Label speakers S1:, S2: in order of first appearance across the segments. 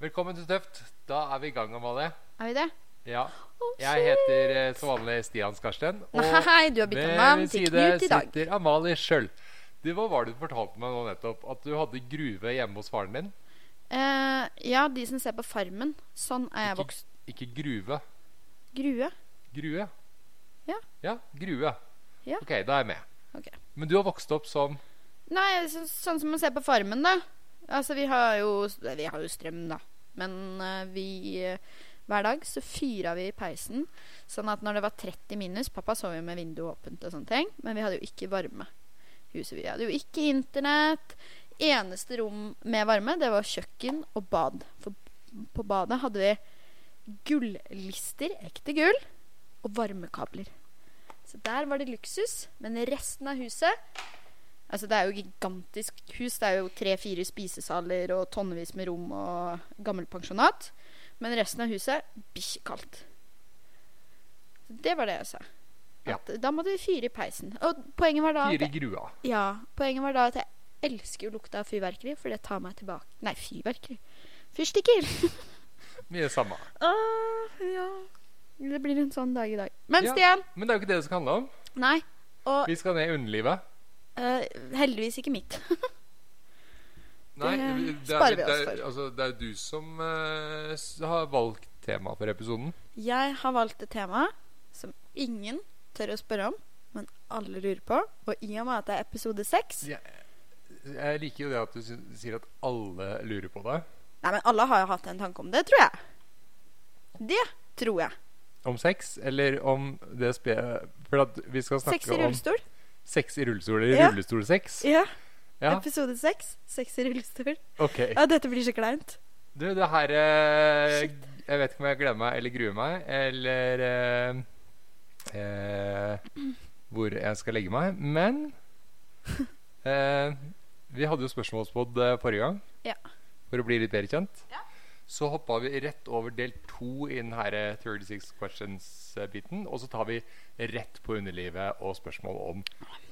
S1: Velkommen til Tøft. Da er vi i gang, Amalie.
S2: Er vi det?
S1: Ja.
S2: Oh,
S1: Jeg
S2: shit.
S1: heter eh, som vanlig Stian Skarsten.
S2: Oh, Nei, du har bytta navn til Knut i dag.
S1: sitter Amalie Skjøld. Du, Hva var det du fortalte meg nå nettopp? At du hadde gruve hjemme hos faren din?
S2: Eh, ja, de som ser på Farmen. Sånn er jeg
S1: Ikke-
S2: vokst.
S1: Ikke gruve.
S2: Grue.
S1: Grue?
S2: Ja.
S1: Ja, Grue.
S2: Ja.
S1: Ok, da er jeg med.
S2: Ok.
S1: Men du har vokst opp som
S2: Nei, så, sånn som man ser på Farmen, da. Altså, vi har jo, eh, vi har jo strøm, da. Men eh, vi eh, Hver dag så fyra vi i peisen. Sånn at når det var 30 minus Pappa sov jo med vinduet åpent og sånne ting. Men vi hadde jo ikke varme. i Huset vi hadde jo ikke internett. Eneste rom med varme, det var kjøkken og bad. For på badet hadde vi gullister, ekte gull, og varmekabler. Så der var det luksus. Men resten av huset Altså, det er jo gigantisk hus. Det er jo tre-fire spisesaler og tonnevis med rom og gammelt pensjonat. Men resten av huset bikkjekaldt. Så Det var det jeg sa.
S1: Ja.
S2: At da måtte vi fyre i peisen. Og poenget var da at
S1: Fire i grua.
S2: ja, poenget var da at jeg elsker jo lukta av fyrverkeri, for det tar meg tilbake Nei, fyrverkeri. Fyrstikker!
S1: Mye samme.
S2: Åh, Ah, ja. Det blir en sånn dag i dag. Men
S1: Ja.
S2: Stian!
S1: Men det er jo ikke det det skal handle om.
S2: Nei. Og
S1: Vi skal ned i underlivet.
S2: eh, heldigvis ikke mitt.
S1: Nei,
S2: Det
S1: er-
S2: sparer vi oss
S1: det er-
S2: for.
S1: Altså, det er jo du som eh, s- har valgt tema for episoden.
S2: Jeg har valgt et tema som ingen tør å spørre om, men alle lurer på. Og i og med at det er episode seks
S1: Jeg liker jo det at du sy- sier at alle lurer på deg.
S2: Nei, men alle har jo hatt en tanke om det, tror jeg. Det tror jeg.
S1: Om sex, eller om det spe... For at vi skal snakke
S2: Sex i
S1: om
S2: rullestol.
S1: sex i rullestol, eller
S2: Ja.
S1: rullestolsex.
S2: Ja.
S1: Ja,
S2: Episode seks. Sex i rullestol.
S1: ok.
S2: Ja, dette blir så kleint.
S1: Du, det her eh, Jeg vet ikke om jeg gleder meg eller gruer meg, eller eh, eh, hvor jeg skal legge meg, men eh, Vi hadde jo spørsmålspod eh, forrige gang,
S2: Ja.
S1: for å bli litt bedre kjent.
S2: Ja.
S1: Så hoppa vi rett over del to i den her eh, 36 questions-biten, og så tar vi rett på underlivet og spørsmål om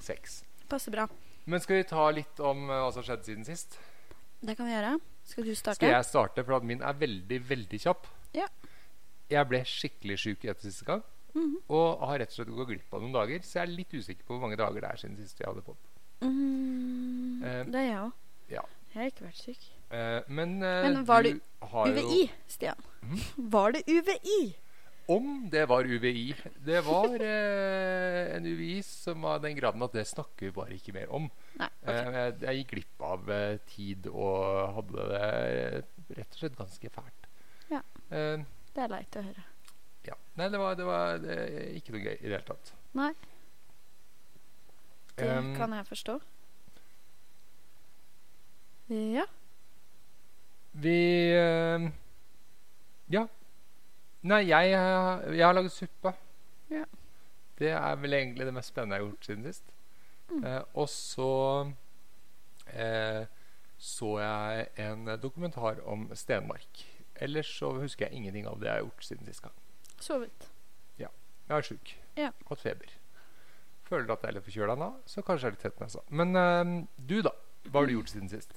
S1: sex.
S2: Passer bra.
S1: Men skal vi ta litt om eh, hva som skjedde siden sist?
S2: Det kan vi gjøre. Skal du starte?
S1: Skal jeg starte, for at min er veldig, veldig kjapp.
S2: Ja.
S1: Jeg ble skikkelig syk etter siste gang.
S2: Mhm.
S1: Og har rett og slett gått glipp av noen dager, så jeg er litt usikker på hvor mange dager det er siden sist jeg hadde fått.
S2: Mm,
S1: Eh,
S2: det er jeg òg.
S1: ja.
S2: Jeg har ikke vært syk.
S1: Eh, men, eh,
S2: Men var det
S1: har Mhm. jo-
S2: UVI, Stian. Var det UVI?
S1: Om det var UVI. Det var eh, en UVI som var den graden at det snakker vi bare ikke mer om.
S2: Nei.
S1: Eh, jeg, jeg gikk glipp av eh, tid og hadde det eh, rett og slett ganske fælt.
S2: Ja.
S1: Eh,
S2: Det er leit å høre.
S1: ja. Nei, det var, det var eh, ikke noe gøy i det hele tatt. Eh,
S2: Nei, det
S1: Em,
S2: kan jeg forstå. Ja.
S1: Vi eh, Ja. Nei, jeg, eh, jeg har laget suppe.
S2: Ja.
S1: Det er vel egentlig det mest spennende jeg har gjort siden sist.
S2: Mm.
S1: Eh, og så eh, så jeg en dokumentar om Stenmark. Ellers så husker jeg ingenting av det jeg har gjort siden sist gang.
S2: Sovet.
S1: Jeg er sjuk.
S2: Ja.
S1: Hatt feber. Føler at jeg er litt forkjøla nå, så kanskje jeg er litt tett nesa. Men eh, du, da? Hva har du gjort siden sist?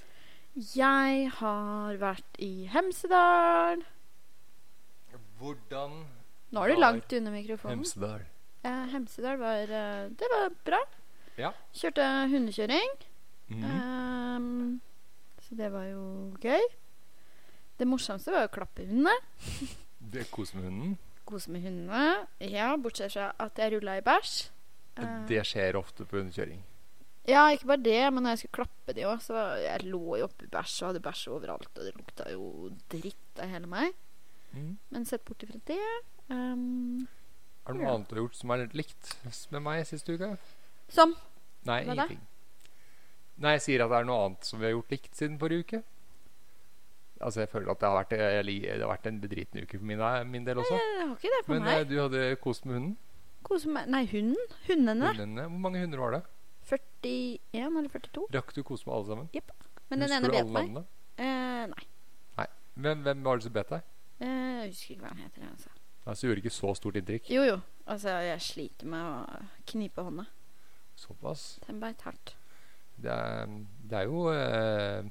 S2: Jeg har vært i Hemsedal.
S1: Hvordan
S2: Nå er du
S1: Var
S2: langt under mikrofonen.
S1: Hemsedal.
S2: Eh, Hemsedal var eh, Det var bra.
S1: Ja.
S2: Kjørte hundekjøring.
S1: Mhm.
S2: Ehm, så det var jo gøy. Det morsomste var jo å klappe hundene.
S1: Det koser med hunden.
S2: Kose med hundene. Ja, bortsett fra at jeg rulla i bæsj. Eh,
S1: Det skjer ofte på hundekjøring.
S2: Ja, ikke bare det, men når jeg skulle klappe de òg, så var- jeg lå jo oppi bæsj og hadde bæsj overalt, og det lukta jo dritt av hele meg. Men sett bort ifra det ehm,
S1: Er det noe
S2: Ja.
S1: annet du har gjort som er likt med meg siste uke?
S2: Som
S1: Nei,
S2: Hva da?
S1: ingenting. Nei, jeg sier at det er noe annet som vi har gjort likt siden forrige uke. Altså, jeg føler at det har vært, jeg, li- det har vært en bedriten uke for min, min del også.
S2: Jeg har ikke det for
S1: Men eh,
S2: meg.
S1: du hadde kost med hunden.
S2: Kose meg Nei, hunden. Hundene.
S1: Hundene. Hvor mange hunder var det?
S2: 41 eller 42.
S1: Rakk du å kose med alle sammen?
S2: Men den
S1: Husker du
S2: ene bet
S1: alle
S2: meg.
S1: navnene?
S2: Eh, nei.
S1: Hvem, hvem var det som bet deg?
S2: Eh, jeg husker ikke hva han heter. jeg, Altså.
S1: Altså, gjorde ikke så stort inntrykk.
S2: Jo, jo. Altså, jeg sliter med å knipe hånda.
S1: Såpass.
S2: Den beit hardt.
S1: Det er, det er jo eh,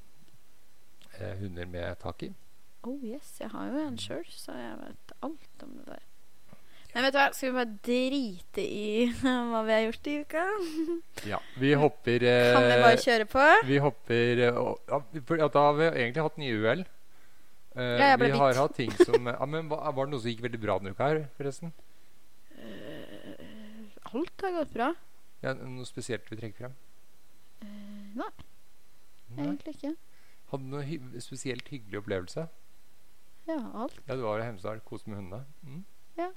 S1: eh, hunder med tak i.
S2: Oh yes, jeg har jo en sjøl, så jeg vet alt om det der. Men vet du hva, skal vi bare drite i hva vi har gjort i uka?
S1: Ja, vi hopper eh,
S2: Kan vi bare kjøre på?
S1: Vi hopper eh, å- ja, for at Da har vi egentlig hatt nye uhell. Eh,
S2: Ja, jeg ble
S1: vi har
S2: bitt.
S1: hatt ting som ja, men hva- Var det noe som gikk veldig bra denne uka her, forresten?
S2: Eh, alt har gått bra.
S1: Ja, noe spesielt vi trekker frem?
S2: Eh, Nei,
S1: Nei.
S2: egentlig ikke.
S1: Hadde du noen hy spesielt hyggelig opplevelse?
S2: Ja, alt.
S1: Ja, du var i Hemsedal, koste med hundene. Mm.
S2: Ja.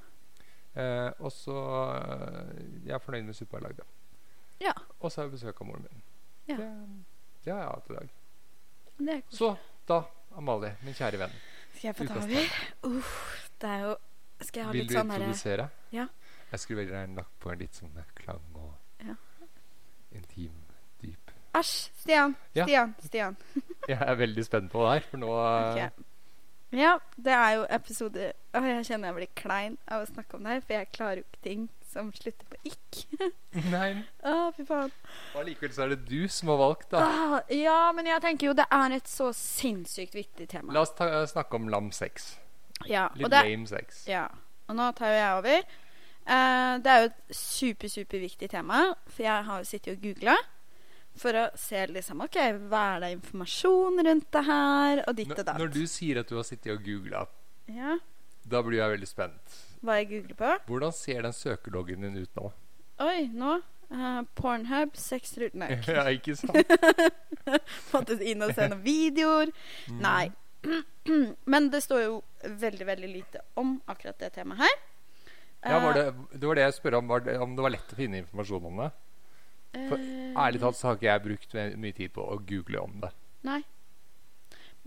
S1: Eh, og så eh, Jeg er fornøyd med suppa jeg lagde.
S2: Ja.
S1: Og så har jeg besøk av moren min.
S2: Ja.
S1: Det, det har jeg hatt i dag.
S2: Det er koselig.
S1: Så da, Amalie, min kjære venn,
S2: Skal jeg få ta
S1: ukas
S2: over? Uff, det er jo Skal jeg ha
S1: vil
S2: litt
S1: du
S2: sånn herre
S1: introdusere?
S2: Ja.
S1: Jeg skulle veldig gjerne lagt på en litt sånn klang og
S2: Ja.
S1: intim, dyp
S2: Æsj! Stian.
S1: Ja.
S2: Stian. Stian.
S1: Jeg er veldig spent på det her, for nå eh,
S2: Ok. Ja, det er jo episode Å, jeg kjenner jeg blir klein av å snakke om det her, for jeg klarer jo ikke ting som slutter på ikk.
S1: eh, Nei,
S2: Å, fy faen.
S1: og allikevel så er det du som har valgt, da.
S2: Ah, ja, men jeg tenker jo det er et så sinnssykt viktig tema.
S1: La oss ta, eh, snakke om lam sex.
S2: Ja,
S1: Litt
S2: og det,
S1: lame sex.
S2: ja, og nå tar jo jeg over. Eh, det er jo et super, superviktig tema, for jeg har jo sittet og googla. For å se liksom, ok, hva er det informasjon rundt det her, og ditt
S1: Når,
S2: og datt.
S1: når du sier at du har sittet og googla,
S2: Ja,
S1: da blir jeg veldig spent.
S2: Hva jeg googler på?
S1: Hvordan ser den søkeloggen din ut nå?
S2: Oi, nå. eh, Pornhub, sex ruten Nei,
S1: ja, ikke sant?
S2: måtte inn og se noen videoer.
S1: Mm.
S2: Nei. Men det står jo veldig, veldig lite om akkurat det temaet her.
S1: Ja, var det,
S2: Eh.
S1: det var det jeg spurte om, var det, om det var lett å finne informasjon om det.
S2: Eh,
S1: for
S2: Mm.
S1: Ærlig talt så har ikke jeg brukt ve- mye tid på å google om det.
S2: Nei.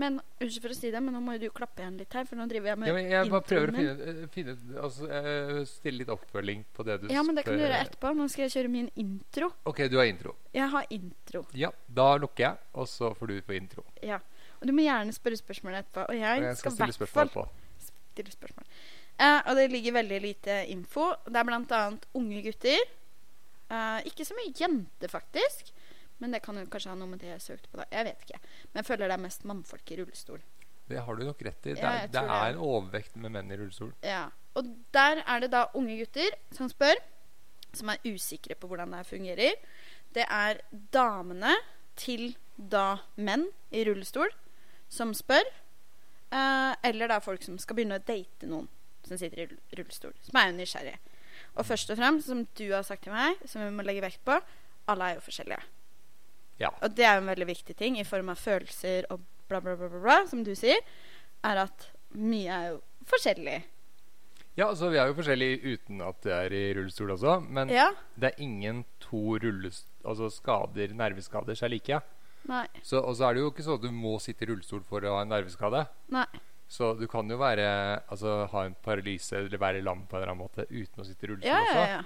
S2: Men unnskyld for å si det, men nå må jo du klappe igjen litt her, for nå driver jeg med
S1: Ja, men jeg bare prøver å
S2: introen min.
S1: finne, eh, finne ut- altså, eh, stille litt oppfølging på det du
S2: Ja, men det kan du
S1: spør-
S2: gjøre etterpå. Nå skal jeg kjøre min intro.
S1: OK, du har intro.
S2: Jeg har intro.
S1: Ja, da lukker jeg, og så får du få intro.
S2: Ja. Og du må gjerne spørre spørsmål etterpå. Og jeg,
S1: Og jeg skal
S2: skal i
S1: stille
S2: hvert
S1: spørsmål
S2: fall
S1: på.
S2: stille spørsmål. Eh, og det ligger veldig lite info. Det er blant annet unge gutter. Eh, ikke så mye jenter, faktisk. Men det kan jo kanskje ha noe med det jeg søkte på. da. Jeg vet ikke. Men jeg føler det er mest mannfolk i rullestol.
S1: Det har du nok rett i. Det
S2: Ja,
S1: er,
S2: jeg
S1: det
S2: tror det.
S1: er en overvekt med menn i rullestol.
S2: Ja. Og der er det da unge gutter som spør, som er usikre på hvordan det her fungerer. Det er damene til da menn i rullestol som spør. eh, eller det er folk som skal begynne å date noen som sitter i rull- rullestol. Som er jo nysgjerrige. Og først og fremst, som du har sagt til meg, som vi må legge vekt på, alle er jo forskjellige.
S1: Ja.
S2: Og det er jo en veldig viktig ting i form av følelser og bla, bla, bla, bla, bla som du sier, er at mye er jo forskjellig.
S1: Ja, altså vi er jo forskjellige uten at det er i rullestol også. Men
S2: Ja.
S1: det er ingen to rullest... Altså skader, nerveskader seg like.
S2: Nei.
S1: Så, og så er det jo ikke sånn at du må sitte i rullestol for å ha en nerveskade.
S2: Nei.
S1: Så du kan jo være Altså ha en paralyse eller være lam på en eller annen måte uten å sitte i rullestol
S2: Ja, ja,
S1: også.
S2: ja.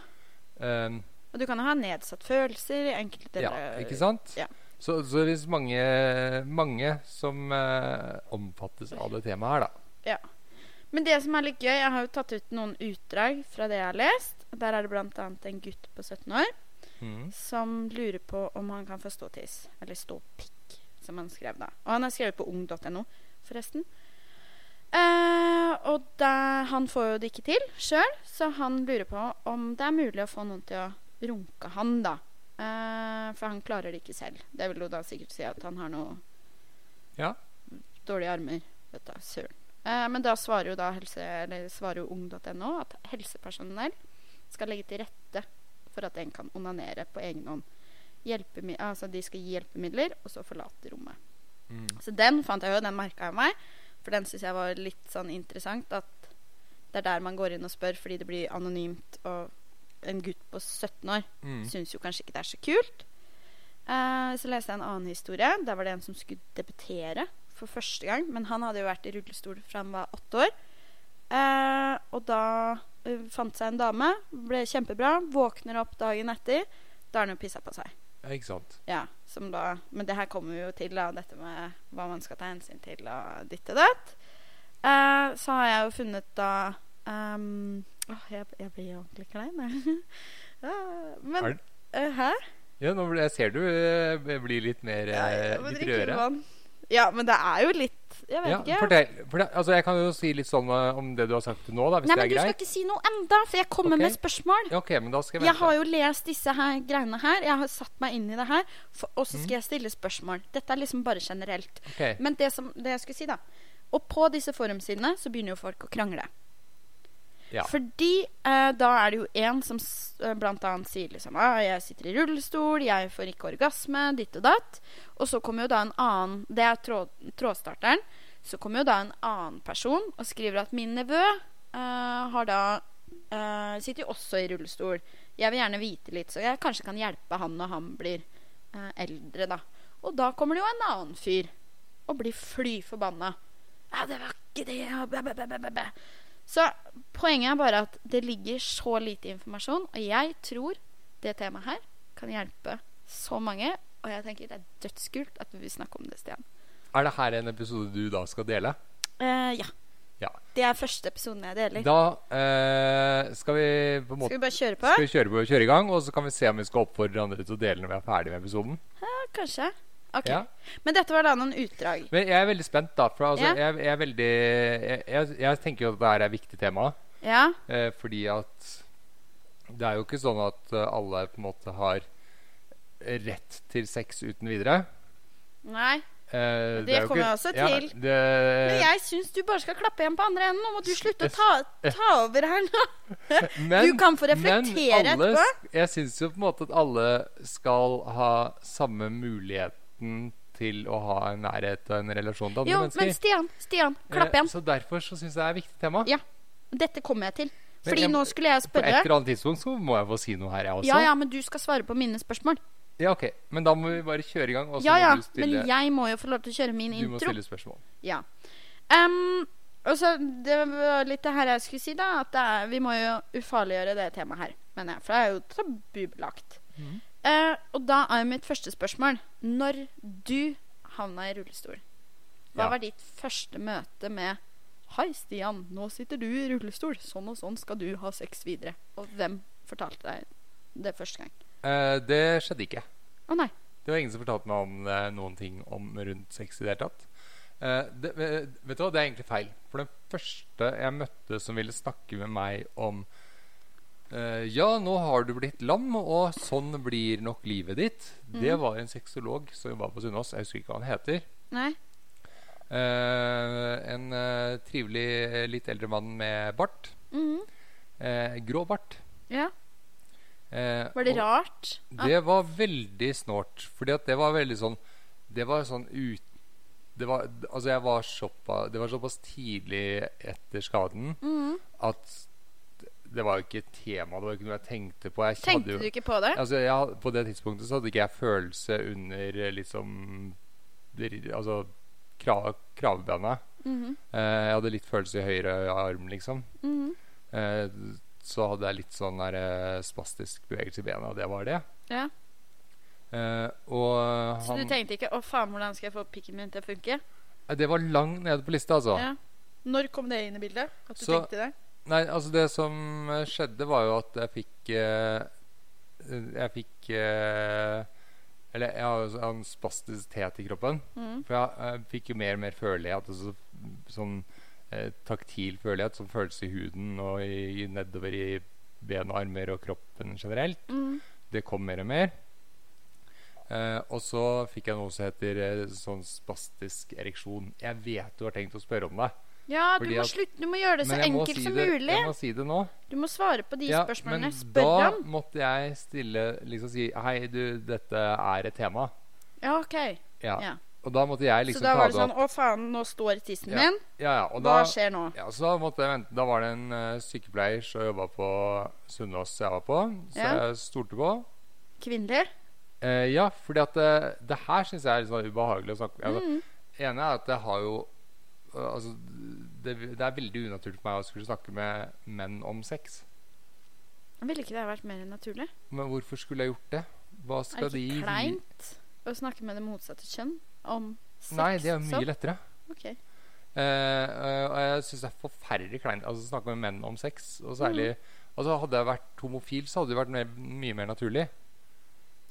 S1: Ehm,
S2: Og du kan jo ha nedsatt følelser i enkelte
S1: ja, ikke sant?
S2: ja.
S1: Så, så det er mange, mange som eh, omfattes av det temaet her, da.
S2: Men det som er litt gøy, jeg har jo tatt ut noen utdrag fra det jeg har lest. Der er det bl.a. en gutt på 17 år
S1: Mm.
S2: som lurer på om han kan få ståtiss. Eller ståpikk, som han skrev da. Og han har skrevet på ung.no, forresten. Eh, og da, han får jo det ikke til sjøl, så han lurer på om det er mulig å få noen til å runke han, da. Eh, for han klarer det ikke selv. Det vil jo da sikkert si at han har noe
S1: Ja.
S2: dårlige armer. Vet du, søren. Eh, men da svarer jo da helse, eller svarer jo ung.no at helsepersonell skal legge til rette for at en kan onanere på egen hånd. Hjelpemi altså de skal gi hjelpemidler, og så forlate rommet.
S1: Mm.
S2: Så den fant jeg jo, den merka jeg meg. For den syns jeg var litt sånn interessant. At det er der man går inn og spør fordi det blir anonymt. Og en gutt på 17 år
S1: Mm.
S2: syns jo kanskje ikke det er så kult. Eh, så leste jeg en annen historie. Der var det en som skulle debutere for første gang. Men han hadde jo vært i rullestol fra han var åtte år. Eh, og da eh, fant seg en dame. Ble kjempebra. Våkner opp dagen etter. Da har han jo pissa på seg.
S1: Ja, ikke sant.
S2: Ja, som da, men det her kommer vi jo til, da, dette med hva man skal ta hensyn til og ditt og datt. Eh, så har jeg jo funnet da ehm, åh, jeg, jeg blir jo ordentlig klein, jeg. Ah, men
S1: Er det-
S2: eh, Hæ?
S1: Ja, nå ble, jeg ser du eh, blir litt mer eh,
S2: Ja, jeg må
S1: litt
S2: drikke litt
S1: rødere.
S2: vann. Ja, men det er jo litt Jeg vet
S1: Ja,
S2: ikke.
S1: fortell. fortell. altså, jeg kan jo si litt sånn eh, om det du har sagt til nå, da, hvis
S2: Nei,
S1: det
S2: men
S1: er
S2: du skal
S1: greit.
S2: ikke si noe enda, for jeg kommer
S1: Ok.
S2: med spørsmål.
S1: Ja, ok, men da skal jeg
S2: Jeg
S1: vente.
S2: har jo lest disse her greiene her. Jeg har satt meg inn i det her. For, og så
S1: Mm.
S2: skal jeg stille spørsmål. Dette er liksom bare generelt.
S1: Ok.
S2: Men det, som, det jeg skulle si, da Og på disse forumsidene så begynner jo folk å krangle.
S1: Ja.
S2: Fordi eh, da er det jo en som s- eh, blant annet sier liksom ah, 'Jeg sitter i rullestol, jeg får ikke orgasme', ditt og datt. Og så kommer jo da en annen Det er trå, trådstarteren. Så kommer jo da en annen person og skriver at 'min nevø eh, har da eh, sitter jo også i rullestol. Jeg vil gjerne vite litt, så jeg kanskje kan hjelpe han når han blir eh, eldre, da. Og da kommer det jo en annen fyr og blir fly forbanna. Ja, det var ikke det og bæ, bæ, bæ, bæ, bæ, bæ. Så poenget er bare at det ligger så lite informasjon, og jeg tror det temaet her kan hjelpe så mange. Og jeg tenker det er dødskult at vi snakker om det, Stian.
S1: Er det her en episode du da skal dele?
S2: Eh, ja.
S1: Ja.
S2: Det er første episoden jeg deler.
S1: Da eh, skal vi på en
S2: Skal
S1: måte
S2: vi bare kjøre på?
S1: skal vi kjøre, på, kjøre i gang, og så kan vi se om vi skal oppfordre andre til å dele når vi er ferdig med episoden.
S2: Ja, kanskje. Ok.
S1: Ja.
S2: Men dette var da noen utdrag.
S1: Men jeg er veldig spent, da. For altså,
S2: Ja.
S1: jeg, jeg er veldig jeg, jeg, jeg tenker jo at det her er et viktig tema.
S2: Ja.
S1: Eh, fordi at det er jo ikke sånn at eh, alle på en måte har rett til sex uten videre.
S2: Nei.
S1: Eh,
S2: Det
S1: er jo
S2: kommer jeg også til.
S1: Ja, det,
S2: Men jeg syns du bare skal klappe igjen på andre enden. Nå må du slutte å ta, ta over her nå.
S1: Men-
S2: Du kan få reflektere
S1: men alle,
S2: etterpå.
S1: sk- Jeg syns jo på en måte at alle skal ha samme muligheten til å ha en nærhet og en relasjon til andre
S2: Jo, men
S1: mennesker.
S2: Stian, Stian, klapp
S1: Eh,
S2: igjen.
S1: Så derfor så syns jeg det er et viktig tema.
S2: Ja. Dette kommer jeg til.
S1: Men
S2: Fordi
S1: jeg-
S2: nå skulle jeg
S1: På et
S2: spørre.
S1: eller annet tidspunkt så må jeg få si noe her, jeg også.
S2: Ja, ja, men du skal svare på mine spørsmål.
S1: Ja, ok. Men da må vi bare kjøre i gang, og så
S2: Ja, ja,
S1: må du
S2: men
S1: stille,
S2: jeg må jo få lov til å kjøre min
S1: du må
S2: intro.
S1: stille spørsmål.
S2: Ja. Ehm, og så Det var litt det her jeg skulle si, da. At det er, vi må jo ufarliggjøre det temaet her. Mener jeg, for det er jo tabubelagt.
S1: Mhm.
S2: Eh, og da er jo mitt første spørsmål Når du havna i rullestol, hva
S1: Ja.
S2: var ditt første møte med Hei, Stian, nå sitter du i rullestol. Sånn og sånn skal du ha sex videre. Og hvem fortalte deg det første gang?
S1: Eh, det skjedde ikke.
S2: Å nei.
S1: Det var ingen som fortalte meg om eh, noen ting om rundt sex i det hele tatt. Eh, det, eh, vet du hva, det er egentlig feil. For den første jeg møtte som ville snakke med meg om eh, Ja, nå har du blitt lam, og sånn blir nok livet ditt.
S2: Mm.
S1: Det var en sexolog som var på Sunnaas. Jeg husker ikke hva han heter.
S2: Nei.
S1: Eh, en eh, trivelig, eh, litt eldre mann med bart.
S2: Mhm.
S1: Eh, grå bart.
S2: Ja.
S1: Eh,
S2: Var det
S1: og-
S2: rart? Ah,
S1: Det var veldig snålt. Fordi at det var veldig sånn Det var sånn ut... Det var, altså jeg var såpass, det var såpass tidlig etter skaden
S2: mhm.
S1: at det var jo ikke et tema. Det var ikke noe jeg tenkte på. Jeg hadde
S2: Tenkte
S1: jo-
S2: du ikke på det?
S1: Altså jeg, had- på det tidspunktet så hadde ikke jeg følelse under eh, liksom dri- Altså krav, kravbeina.
S2: Mhm.
S1: Eh, jeg hadde litt følelse i høyre arm, liksom.
S2: Mhm.
S1: Eh, så hadde jeg litt sånn der, eh, spastisk bevegelse i bena. Det var det.
S2: Ja.
S1: Eh, og
S2: Så
S1: han,
S2: du tenkte ikke 'å faen, hvordan skal jeg få pikken min til å funke'?
S1: Eh, Det var langt nede på lista, altså.
S2: Ja. Når kom det inn i bildet? At du
S1: Så-
S2: tenkte det?
S1: Nei, altså det som eh, skjedde, var jo at jeg fikk eh, eh, Jeg fikk eh, Eller jeg har jo sånn spastitet i kroppen.
S2: Mhm.
S1: For jeg, eh, fikk jo mer og mer følelighet. Altså, sånn eh, taktil følelighet som føles i huden og i, i nedover i ben og armer og kroppen generelt.
S2: Mhm.
S1: Det kom mer og mer. Eh, og så fikk jeg noe som heter eh, sånn spastisk ereksjon. Jeg vet du har tenkt å spørre om det.
S2: Ja, du
S1: Fordi
S2: må,
S1: at-
S2: slutte, du må gjøre det så
S1: Men jeg må
S2: enkelt
S1: si
S2: som
S1: det,
S2: mulig.
S1: Jeg må si det nå.
S2: Du må svare på de spørsmålene.
S1: men
S2: Spør
S1: da
S2: ham.
S1: måtte jeg stille liksom si Hei, du, dette er et tema.
S2: Ja, OK.
S1: Ja.
S2: Ja.
S1: Og da måtte jeg liksom
S2: så da
S1: ta
S2: var det sånn
S1: opp.
S2: 'å faen, nå står tissen
S1: Ja,
S2: min'.
S1: Ja, ja. Og da,
S2: Hva skjer nå?
S1: ja, så da måtte jeg vente. Da var det en eh, sykepleier som jobba på Sunnaas jeg var på, så
S2: Ja.
S1: jeg stolte på.
S2: Kvinnelig?
S1: Eh, ja, fordi at det, det her syns jeg er litt sånn ubehagelig å snakke om.
S2: Mhm.
S1: Det ene er at jeg har jo eh, Altså, det, det er veldig unaturlig for meg å skulle snakke med menn om sex.
S2: Ville ikke det ha vært mer naturlig?
S1: Men hvorfor skulle jeg gjort det? Hva skal
S2: Er det
S1: de
S2: ikke
S1: vi-
S2: kleint å snakke med det motsatte kjønn om sex?
S1: Nei, det er mye
S2: sånn?
S1: lettere.
S2: Ok.
S1: Eh, eh, og jeg syns det er forferdelig kleint altså, å snakke med menn om sex. Og særlig
S2: Mm.
S1: altså, Hadde jeg vært homofil, så hadde det vært mer, mye mer naturlig.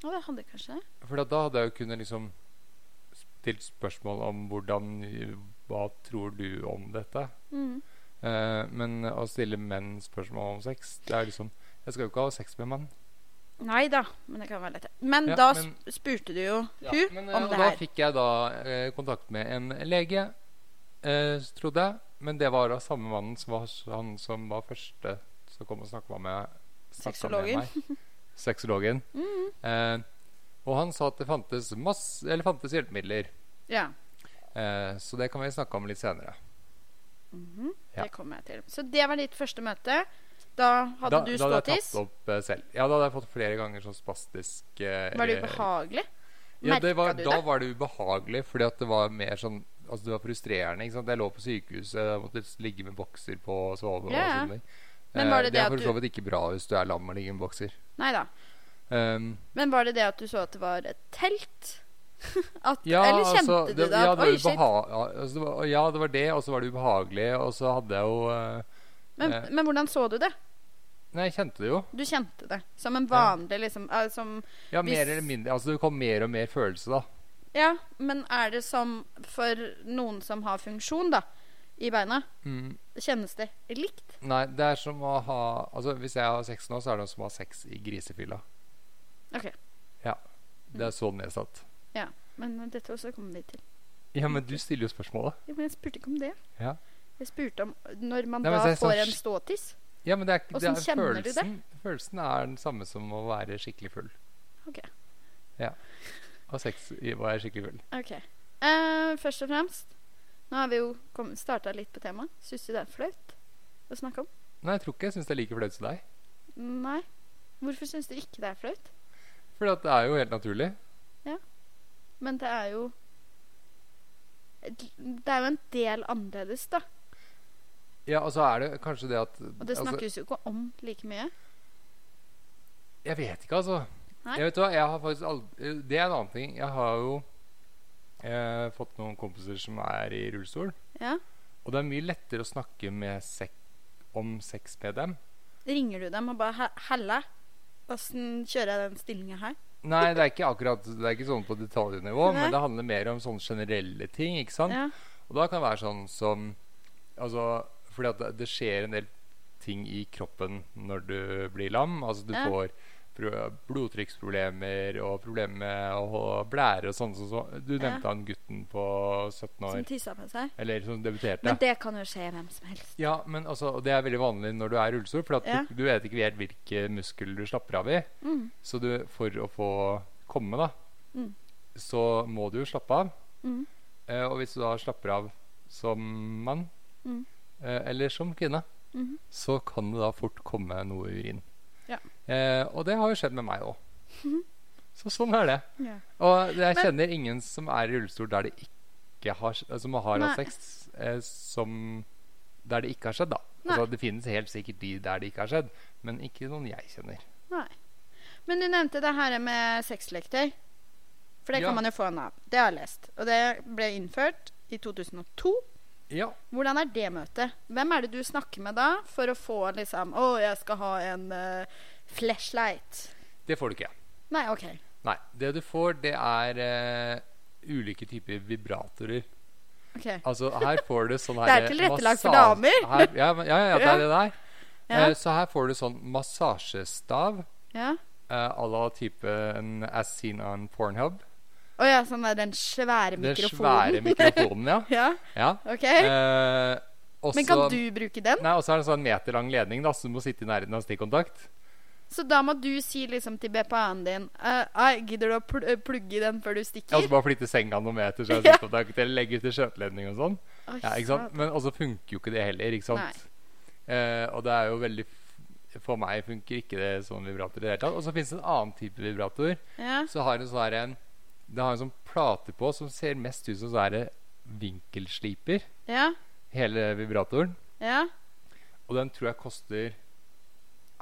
S2: Ja, det hadde kanskje det.
S1: For da hadde jeg jo kunnet liksom stilt spørsmål om hvordan Hva tror du om dette?
S2: Mm.
S1: Eh, men å stille menn spørsmål om sex Det er liksom Jeg skal jo ikke ha sex med mann.
S2: Nei da, men det kan være lett. Men
S1: Ja,
S2: da
S1: men-
S2: sp- spurte du jo
S1: Ja,
S2: hun
S1: men, eh,
S2: om
S1: og
S2: det
S1: da
S2: her.
S1: fikk jeg da eh, kontakt med en lege, eh, trodde jeg. Men det var da samme mannen som var s- han som var første som kom og snakka med, snakket med
S2: Sexologen. Mm.
S1: meg. Sexologen. Eh, og han sa at det fantes, masse, eller fantes hjelpemidler.
S2: Ja.
S1: Eh, så det kan vi snakke om litt senere.
S2: Mhm,
S1: Ja.
S2: Det kommer jeg til. Så det var ditt første møte. Da hadde du
S1: da hadde jeg
S2: ståtiss.
S1: tatt opp eh, selv. Ja, da hadde jeg fått flere ganger sånn spastisk eh,
S2: Var det
S1: eller-
S2: ubehagelig?
S1: Ja, det
S2: Merket
S1: var,
S2: du
S1: da
S2: det?
S1: var det ubehagelig, fordi at det var mer sånn Altså, det var frustrerende. ikke sant? Jeg lå på sykehuset, jeg måtte ligge med bokser på og sove.
S2: Ja, ja.
S1: og sånne ting.
S2: Men
S1: Eh,
S2: var det det
S1: er
S2: at
S1: for
S2: du-
S1: så vidt ikke bra hvis du er lam og ligger med bokser.
S2: Nei da.
S1: Um,
S2: Men var det det at du så at det var et telt? at,
S1: ja,
S2: eller kjente
S1: altså,
S2: du det? At,
S1: ja, det var
S2: Oi, shit.
S1: ubeha- ja, altså, det var, ja, det var det, og så var det ubehagelig, og så hadde jeg jo eh,
S2: Men,
S1: eh,
S2: men hvordan så du det?
S1: Nei, jeg kjente det jo.
S2: Du kjente det som en vanlig liksom eh, som,
S1: Ja,
S2: Hvis-
S1: mer eller mindre. Altså, det kom mer og mer følelse, da.
S2: Ja, men er det som for noen som har funksjon, da, i beina?
S1: Mm.
S2: Kjennes det likt?
S1: Nei, det er som å ha Altså, hvis jeg har sex nå, så er det som å ha sex i grisefilla.
S2: OK.
S1: Det er så nedsatt.
S2: Men dette også kommer vi til.
S1: Ja, men du stiller jo spørsmålet.
S2: Ja, men jeg spurte ikke om det.
S1: Ja.
S2: Jeg spurte om når man
S1: Nei, men
S2: da
S1: det er sånn
S2: får en
S1: sk-
S2: ståtiss.
S1: Ja, men det er, ikke- det
S2: Åssen
S1: er
S2: kjenner du
S1: følelsen,
S2: det?
S1: Følelsen er den samme som å være skikkelig full.
S2: Ok.
S1: Ja. Og sex i å være skikkelig full.
S2: OK. Eh, først og fremst, nå har vi jo starta litt på temaet. Syns du det er flaut å snakke om?
S1: Nei, jeg tror ikke jeg syns det er like flaut som deg.
S2: Nei. Hvorfor syns du ikke det er flaut?
S1: For det er jo helt naturlig.
S2: Men det er jo Det er jo en del annerledes, da.
S1: Ja, og så er det kanskje det at
S2: Og det
S1: altså,
S2: snakkes jo ikke om like mye.
S1: Jeg vet ikke, altså.
S2: Nei.
S1: Jeg vet hva, jeg har faktisk aldri, Det er en annen ting. Jeg har jo eh, fått noen kompiser som er i rullestol.
S2: Ja.
S1: Og det er mye lettere å snakke med sek om sex med dem.
S2: Ringer du dem og bare "He- 'Halla, åssen kjører jeg den stillinga her?'
S1: Nei, det er ikke akkurat Det er ikke sånn på detaljnivå,
S2: Nei.
S1: men det handler mer om sånne generelle ting. ikke sant?
S2: Ja.
S1: Og da kan det være sånn som Altså, fordi at det, det skjer en del ting i kroppen når du blir lam. Altså, du
S2: Ja.
S1: får pro- blodtrykksproblemer og problemer med å holde blære og sånn. som så, du
S2: Ja.
S1: nevnte han gutten på 17
S2: Som
S1: år,
S2: tissa på seg.
S1: eller som debuterte.
S2: Men det kan jo skje hvem som helst.
S1: ja, men altså, og det er veldig vanlig når du er i rullestol, for at
S2: Ja.
S1: du, du vet ikke helt hvilke muskler du slapper av i.
S2: Mm.
S1: Så du, for å få komme, da,
S2: Mm.
S1: så må du jo slappe av.
S2: Mm.
S1: Eh, og hvis du da slapper av som mann,
S2: Mm.
S1: eh, eller som kvinne,
S2: Mhm.
S1: så kan det da fort komme noe urin.
S2: Ja.
S1: Eh, og det har jo skjedd med meg òg. Så sånn er det.
S2: Ja.
S1: Og jeg
S2: Men-
S1: kjenner ingen som er i rullestol der det ikke har skj- Som har hatt
S2: Nei.
S1: sex eh, som Der det ikke har skjedd, da.
S2: Nei.
S1: Altså, det finnes helt sikkert de der det ikke har skjedd, men ikke noen jeg kjenner.
S2: Nei. Men du nevnte det her med sexleketøy. For det
S1: Ja.
S2: kan man jo få en av. Det har jeg lest. Og det ble innført i 2002.
S1: Ja.
S2: Hvordan er det møtet? Hvem er det du snakker med da for å få liksom Å, jeg skal ha en eh, flashlight.
S1: Det får du ikke.
S2: Nei, OK.
S1: Nei. Det du får, det er eh, ulike typer vibratorer.
S2: ok
S1: Altså, her får du sånn
S2: Det er
S1: her, eh,
S2: tilrettelagt for
S1: massas-
S2: damer.
S1: Her, ja, men- ja, ja, det
S2: Ja.
S1: er det der.
S2: Ja.
S1: Så her får du sånn massasjestav
S2: Ja.
S1: eh, à la typen As Seen on Pornhub.
S2: Å ja, sånn der den svære
S1: Den svære
S2: mikrofonen.
S1: mikrofonen, ja.
S2: ja,
S1: ja.
S2: OK.
S1: Eh, også,
S2: Men kan du bruke den?
S1: Nei, Og så er det en sånn meterlang ledning, da, så du må sitte i nærheten av stikkontakt.
S2: Så da må du si liksom til BPA-en din «Eh, Ai, gidder du å pl plugge i den før du stikker?
S1: Ja, altså og så bare flytte senga noen meter, så er det
S2: Ja.
S1: stikkontakt, eller legge til skjøteledning og sånn.
S2: Oi,
S1: Ja, ikke sant?
S2: satan.
S1: Men også funker jo ikke det heller, ikke sant? Eh, og det er jo veldig f- For meg funker ikke det sånn vibrator i det hele tatt. Og så fins det en annen type vibrator.
S2: Ja.
S1: Så har en sånn her en Det har en sånn plate på som ser mest ut som sånn her vinkelsliper.
S2: Ja.
S1: Hele vibratoren.
S2: Ja.
S1: Og den tror jeg koster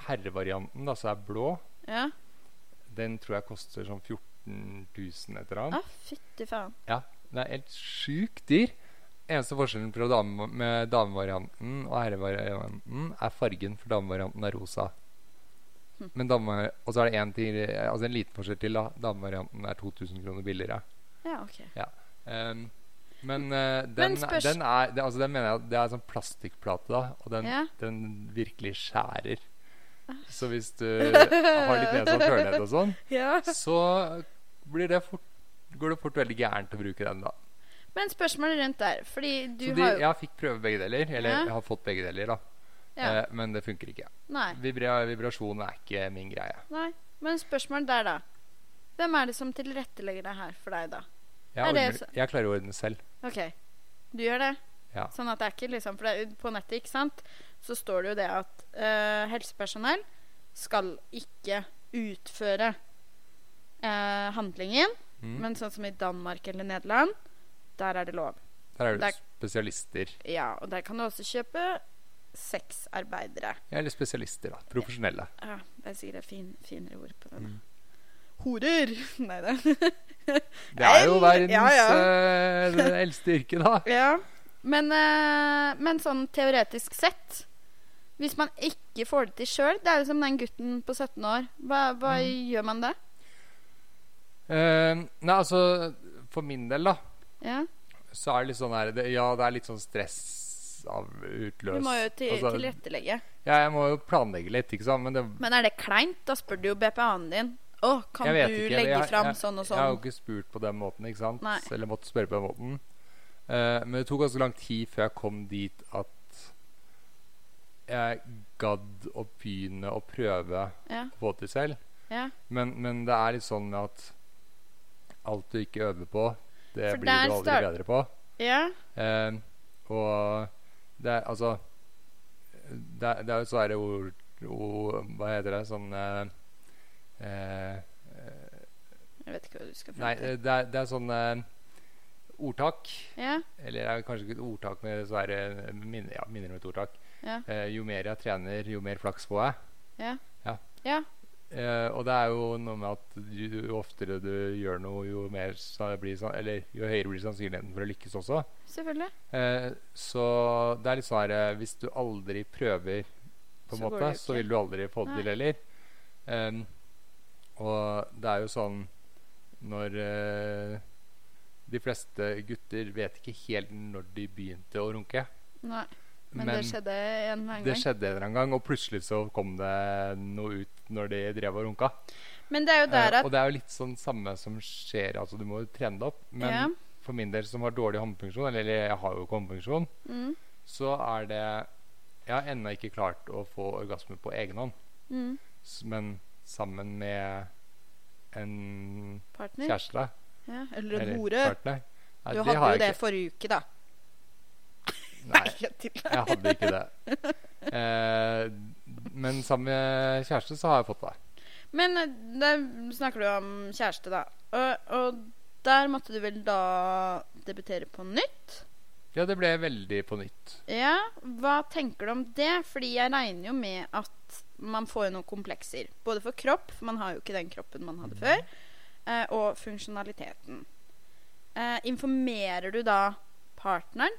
S1: Herrevarianten, da, så er blå,
S2: Ja.
S1: den tror jeg koster sånn 14 000 et eller
S2: Å,
S1: annet.
S2: fytti faen.
S1: Den er helt sjukt dyr. Eneste forskjellen fra dame, med damevarianten og herrevarianten er fargen, for damevarianten er rosa.
S2: Hm.
S1: Men dame, og så er det en, til, altså en liten forskjell til. da Damevarianten er 2000 kroner billigere.
S2: Ja, OK.
S1: Um, men eh, den,
S2: spørs-
S1: den er det, altså, den mener jeg at Det er sånn plastikkplate, da. Og den,
S2: Ja. Ah.
S1: den virkelig skjærer. Så hvis du har litt nedsatt hørenhet og sånn,
S2: Ja.
S1: så blir det fort, går det fort veldig gærent å bruke den, da.
S2: Men spørsmålet rundt der Fordi du
S1: så de,
S2: har jo
S1: jeg fikk prøve begge deler. Eller
S2: Ja.
S1: jeg har fått begge deler, da.
S2: ja.
S1: Eh, men det funker ikke.
S2: Nei.
S1: Vibra, vibrasjon er ikke min greie.
S2: Nei. Men spørsmålet der, da. Hvem er det som tilrettelegger det her for deg, da?
S1: Jeg,
S2: Er det
S1: ordner, jeg klarer å ordne selv.
S2: OK. Du gjør det?
S1: Ja.
S2: Sånn at det er ikke liksom For det, er- på nettet, ikke sant, så står det jo det at eh, helsepersonell skal ikke utføre eh, handlingen.
S1: Mm.
S2: Men sånn som i Danmark eller Nederland, der er det lov.
S1: Der er det
S2: det
S1: spesialister.
S2: Ja, og der kan du også kjøpe sexarbeidere.
S1: Ja, Eller spesialister, da. Profesjonelle.
S2: Ja, det er sikkert et fin, finere ord på den.
S1: Mm.
S2: Horer! Nei da.
S1: Det er jo
S2: Eller-
S1: verdens
S2: ja,
S1: eh, det eldste yrke, da.
S2: Ja. Men, eh, men sånn teoretisk sett Hvis man ikke får det til sjøl Det er jo som den gutten på 17 år. Hva, hva
S1: Mm.
S2: gjør man da?
S1: Eh, nei, altså For min del, da,
S2: Ja.
S1: så er det litt sånn her det, Ja, det er litt sånn stress av utløs
S2: Du må jo til,
S1: altså,
S2: tilrettelegge.
S1: Ja, jeg må jo planlegge litt, ikke sant. Men det,
S2: Men er det kleint? Da spør du jo BPA-en din. Å, kan
S1: jeg
S2: du
S1: vet ikke.
S2: legge
S1: jeg,
S2: fram
S1: jeg,
S2: sånn og
S1: Jeg har jo
S2: sånn?
S1: ikke spurt på den måten, ikke sant.
S2: Nei.
S1: Eller måtte spørre på den måten. Eh, men det tok ganske lang tid før jeg kom dit at jeg gadd å begynne å prøve
S2: Ja,
S1: å få til selv.
S2: ja.
S1: Men, men det er litt sånn med at alt du ikke øver på, det
S2: For
S1: blir
S2: der
S1: du aldri
S2: start-
S1: bedre på.
S2: ja.
S1: Eh, og det er altså Det, er- det er jo sånn herre ord, ord Hva heter det? Sånn eh, eh,
S2: Jeg vet ikke hva du skal
S1: Nei,
S2: fram til.
S1: eh, det er, det er sånn eh, ordtak.
S2: Ja,
S1: Eller det er kanskje ikke et ordtak, men så er det minner, ja, minner om et ordtak.
S2: Ja.
S1: Eh, jo mer jeg trener, jo mer flaks får jeg.
S2: ja.
S1: Eh, og det er jo noe med at jo, jo oftere du gjør noe, jo, mer sa- blir, san- eller, jo høyere blir sannsynligheten for å lykkes også.
S2: Selvfølgelig.
S1: Eh, så det er litt sånn her eh, Hvis du aldri prøver, på en
S2: Så går
S1: måte,
S2: det jo
S1: så
S2: ikke.
S1: vil du aldri få det til heller. Em, og det er jo sånn når eh, De fleste gutter vet ikke helt når de begynte å runke.
S2: Nei. Men, det skjedde en gang.
S1: det skjedde en eller annen gang, og plutselig så kom det noe ut når de drev og runka.
S2: Men det er jo der
S1: Eh,
S2: at
S1: og det er jo litt sånn samme som skjer. Altså, du må jo trene det opp. Men
S2: Ja.
S1: for min del som har dårlig håndfunksjon, eller jeg har jo ikke håndfunksjon,
S2: mm,
S1: så er det Jeg har ennå ikke klart å få orgasme på egen hånd.
S2: mm,
S1: S- Men sammen med en
S2: Partner.
S1: kjæreste
S2: Ja. Eller en
S1: eller
S2: hore.
S1: partner. Nei,
S2: Du
S1: det
S2: hadde
S1: har
S2: jo det
S1: jeg ikke.
S2: forrige uke, da.
S1: Nei,
S2: jeg tuller.
S1: jeg hadde ikke det. Eh, men sammen med kjæreste så har jeg fått det.
S2: Men eh, der snakker du om kjæreste, da. Og, og der måtte du vel da debutere på nytt?
S1: Ja, det ble veldig på nytt.
S2: Ja, hva tenker du om det? Fordi jeg regner jo med at man får jo noen komplekser. Både for kropp, for man har jo ikke den kroppen man
S1: Mm.
S2: hadde før, eh, og funksjonaliteten. Eh, informerer du da partneren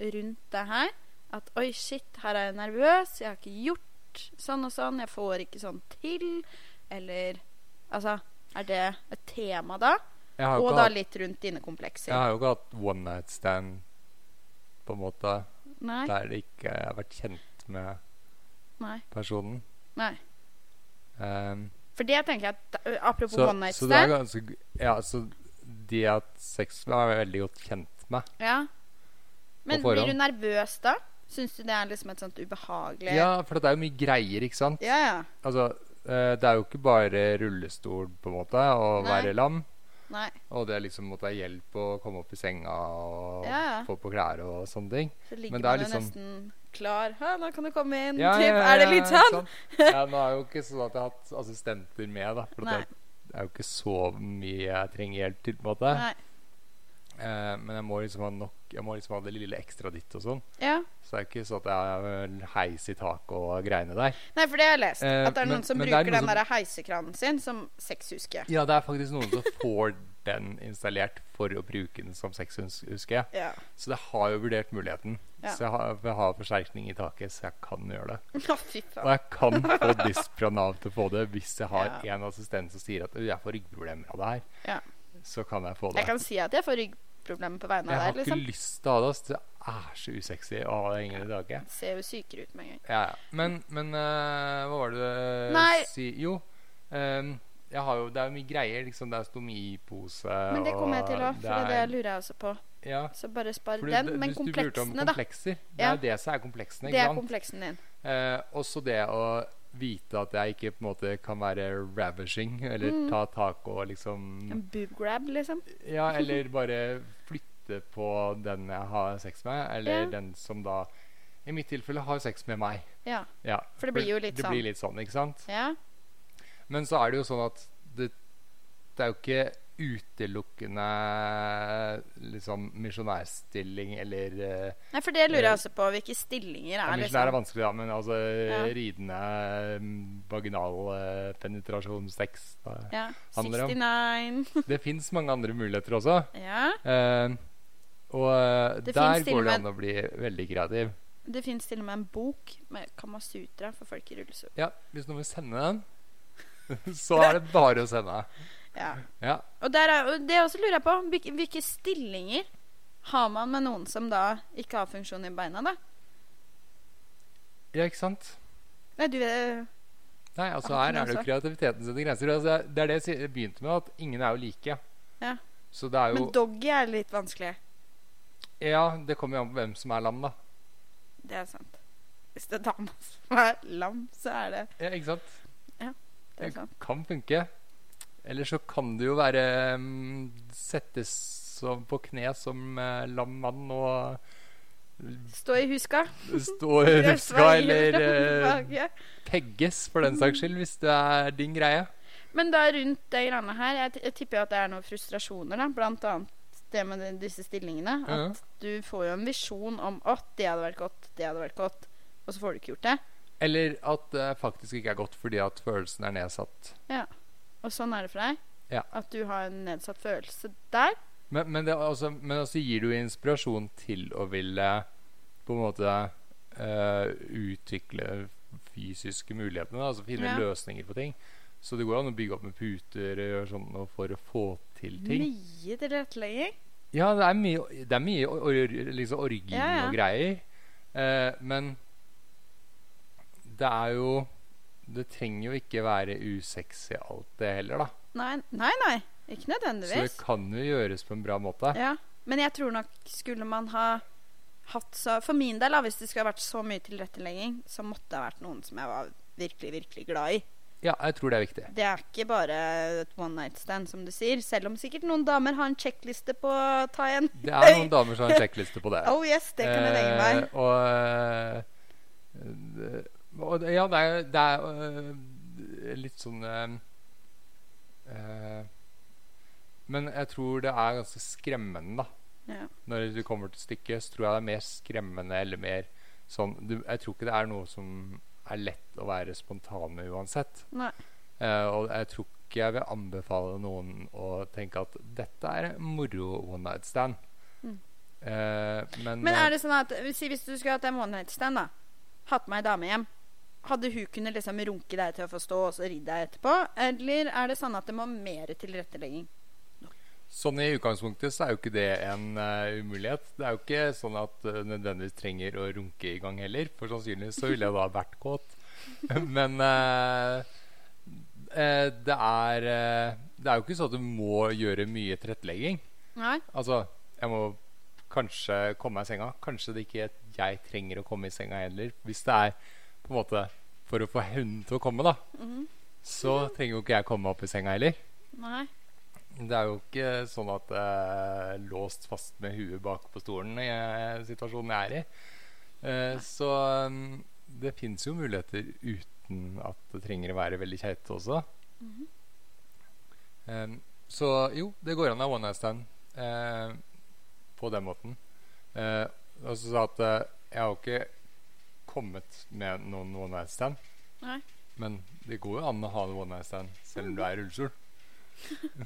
S2: rundt det her? At 'oi, shit, her er jeg nervøs, jeg har ikke gjort sånn og sånn, jeg får ikke sånn til', eller Altså, er det et tema da?
S1: Jeg har jo
S2: Og
S1: ikke
S2: da
S1: hatt,
S2: litt rundt dine komplekser.
S1: jeg har jo ikke hatt one night stand, på en måte.
S2: Nei?
S1: Der det ikke jeg har vært kjent med
S2: Nei.
S1: personen.
S2: nei.
S1: Um,
S2: For det tenker jeg at eh, Apropos
S1: så,
S2: one night
S1: så det er
S2: stand.
S1: ganske Ja, så de jeg har hatt sex med, er jeg veldig godt kjent med.
S2: Ja. Men blir
S1: forhånd.
S2: du nervøs da? Syns du det er liksom et sånt ubehagelig
S1: Ja, for det er jo mye greier, ikke sant?
S2: ja, ja.
S1: Altså, eh, det er jo ikke bare rullestol, på en måte, å
S2: Nei.
S1: være lam.
S2: Nei.
S1: Og det er liksom måtte ha hjelp å komme opp i senga og
S2: Ja, ja.
S1: få på klær og sånne ting.
S2: Så ligger
S1: Men
S2: man
S1: det er
S2: jo
S1: liksom-
S2: nesten klar. Hæ, nå kan du komme inn.
S1: Ja,
S2: typ.
S1: ja, ja,
S2: er det
S1: ja,
S2: litt
S1: ikke
S2: sånn?
S1: sant? Ja, nå er jo ikke sånn at jeg har hatt assistenter med, da. For at
S2: Nei.
S1: jeg- det er jo ikke så mye jeg trenger hjelp til, på en måte.
S2: Nei.
S1: Eh, men jeg må liksom ha nok Jeg må liksom ha det lille ekstra ditt og sånn.
S2: Ja.
S1: Så det er ikke sånn at jeg har heis i taket og greiene der.
S2: Nei, for det har jeg lest.
S1: Eh,
S2: At det er
S1: men-
S2: noen som
S1: men det er
S2: bruker
S1: noen
S2: den
S1: som-
S2: der heisekranen sin som sexhuske.
S1: Ja, det er faktisk noen som får den installert for å bruke den som sexhund, husker jeg.
S2: Ja.
S1: Så jeg har jo vurdert muligheten.
S2: Ja.
S1: Så jeg har, jeg har forsterkning i taket, så jeg kan gjøre det.
S2: Å, fy
S1: Og
S2: faen.
S1: jeg kan få disk fra Nav til å få det hvis jeg har
S2: Ja.
S1: en assistent som sier at «Ø, jeg får ryggproblemer av det her.
S2: Ja.
S1: Så kan jeg få det.
S2: Jeg kan si at jeg får rygg problemer på vegne
S1: Jeg
S2: av
S1: har
S2: deg,
S1: ikke
S2: liksom.
S1: lyst til å ha det. ass. Det er så usexy å ha det hengende i dagen.
S2: Ser jo sykere ut med en gang.
S1: Ja, ja. Men, men eh, hva var det du
S2: Nei.
S1: si? Jo, ehm, jeg har jo, det er jo mye greier. Liksom, det er stomipose
S2: Men det kommer jeg til
S1: og
S2: òg, for det lurer jeg også på.
S1: er- ja.
S2: Så bare spar
S1: Fordi
S2: den.
S1: det-
S2: Men
S1: hvis du spurte om
S2: kompleksene, da.
S1: komplekser, Det
S2: Ja.
S1: er det som er kompleksene.
S2: Det
S1: Ikke
S2: er
S1: sant?
S2: kompleksen din.
S1: Eh, også det å vite at jeg ikke på en måte kan være ravishing eller
S2: Mm.
S1: ta tak og liksom
S2: En boob grab, liksom.
S1: Ja, eller bare flytte på den jeg har sex med, eller
S2: Ja.
S1: den som da i mitt tilfelle har sex med meg.
S2: Ja.
S1: Ja,
S2: For det blir jo litt
S1: det
S2: sånn.
S1: blir litt sånn, ikke sant?
S2: Ja.
S1: Men så er det jo sånn at det, det er jo ikke utelukkende liksom misjonærstilling eller eh,
S2: Nei, for det lurer jeg også på. Hvilke stillinger
S1: ja,
S2: er
S1: Misjonær er
S2: liksom
S1: vanskelig, da, men altså
S2: Ja.
S1: ridende mm, vaginal eh, penetrasjonssex da.
S2: ja.
S1: handler om.
S2: 69
S1: Det fins mange andre muligheter også.
S2: Ja.
S1: Eh, og eh,
S2: Det
S1: der
S2: finnes til
S1: går
S2: og
S1: det
S2: med-
S1: an å bli veldig kreativ.
S2: Det fins til og med en bok med Kamasutra for folk i rullestol.
S1: Ja, Hvis noen vil sende den, så er det bare å sende.
S2: Ja.
S1: Ja,
S2: Og der er, og det også lurer jeg på. Hvilke, hvilke stillinger har man med noen som da ikke har funksjon i beina, da?
S1: ja ikke sant?
S2: Nei, du eh,
S1: Nei, altså
S2: Ah,
S1: Her
S2: men
S1: er det jo
S2: altså.
S1: kreativiteten sine grenser. Altså, det er det jeg si- begynte med, at ingen er jo like.
S2: Ja.
S1: Så det er jo
S2: Men doggy er litt vanskelig.
S1: Ja, det kommer jo an på hvem som er lam, da.
S2: Det er sant. Hvis det er dama som er lam, så er det
S1: Ja, ikke sant?
S2: Det er sant.
S1: Kan funke. Eller så kan det jo være mm, Settes som, på kne som eh, lam mann og
S2: Stå i huska.
S1: stå i huska,
S2: Svei
S1: eller
S2: fram og
S1: eh,
S2: tilbake.
S1: pegges, for den saks skyld, hvis det er din greie.
S2: Men da rundt det greiene her, jeg, t- jeg tipper jo at det er noen frustrasjoner, da. Blant annet det med de- disse stillingene. At
S1: Ja.
S2: du får jo en visjon om at det hadde vært godt, det hadde vært godt. Og så får du ikke gjort det.
S1: Eller at det faktisk ikke er godt fordi at følelsen er nedsatt.
S2: Og sånn er det for deg.
S1: Ja.
S2: At du har en nedsatt følelse der.
S1: Men, men, det er også, men også gir du inspirasjon til å ville på en måte eh, utvikle fysiske mulighetene. da, Altså finne
S2: Ja.
S1: løsninger på ting. Så det går jo an å bygge opp med puter og gjøre sånn noe for å få til ting.
S2: Mye tilrettelegging.
S1: Ja, det er mye, det er mye or, or, liksom orgi
S2: Ja, ja.
S1: og greier. Eh, men det er jo Det trenger jo ikke være usexy alt det heller, da.
S2: Nei, nei, nei. Ikke
S1: Så det
S2: nødvendigvis.
S1: kan jo gjøres på en bra måte.
S2: Ja. Men jeg tror nok skulle man ha hatt så For min del, da, hvis det skulle ha vært så mye tilrettelegging, så måtte det ha vært noen som jeg var virkelig, virkelig glad i.
S1: Ja, jeg tror det er viktig.
S2: Det er ikke bare et one night stand, som du sier. Selv om sikkert noen damer har en sjekkliste på å ta en.
S1: Det er noen damer som har en sjekkliste på det.
S2: Oh yes, det kan jeg legge meg.
S1: Eh, og, eh, det- og det- Ja, det er, det er eh, litt sånn eh, eh, Men jeg tror det er ganske skremmende, da.
S2: Ja.
S1: Når du kommer til stykket, så tror jeg det er mer skremmende eller mer sånn du, Jeg tror ikke det er noe som er lett å være spontan med uansett.
S2: Nei.
S1: Eh, og jeg tror ikke jeg vil anbefale noen å tenke at dette er moro one night stand.
S2: Mm.
S1: Eh, men
S2: Men er det sånn at si hvis du skulle hatt en one night stand, da. Hatt med ei dame hjem. Hadde hun kunnet liksom runke deg til å få stå, og så ridde deg etterpå? Eller er det sånn at det må mer tilrettelegging?
S1: Sånn i utgangspunktet så er jo ikke det en eh, umulighet. Det er jo ikke sånn at uh, nødvendigvis trenger å runke i gang heller, for sannsynligvis så ville jeg da vært kåt. Men eh, eh, det er eh, Det er jo ikke sånn at du må gjøre mye tilrettelegging.
S2: Nei?
S1: Altså, jeg må kanskje komme meg i senga. Kanskje det ikke jeg trenger å komme i senga heller. Hvis det er på en måte for å få hunden til å komme, da,
S2: Mhm.
S1: så trenger jo ikke jeg komme meg opp i senga heller.
S2: Nei.
S1: Det er jo ikke sånn at eh, låst fast med huet bak på stolen i eh, situasjonen jeg er i. Eh, så mm, det fins jo muligheter uten at det trenger å være veldig keitete også.
S2: Mhm.
S1: Em, så jo, det går an å ha one night stand eh, på den måten. Eh, og så sa jeg at eh, jeg har jo ikke kommet med noen one night stand.
S2: Nei. Mhm.
S1: Men det går jo an å ha en one night stand selv om du er i rullestol.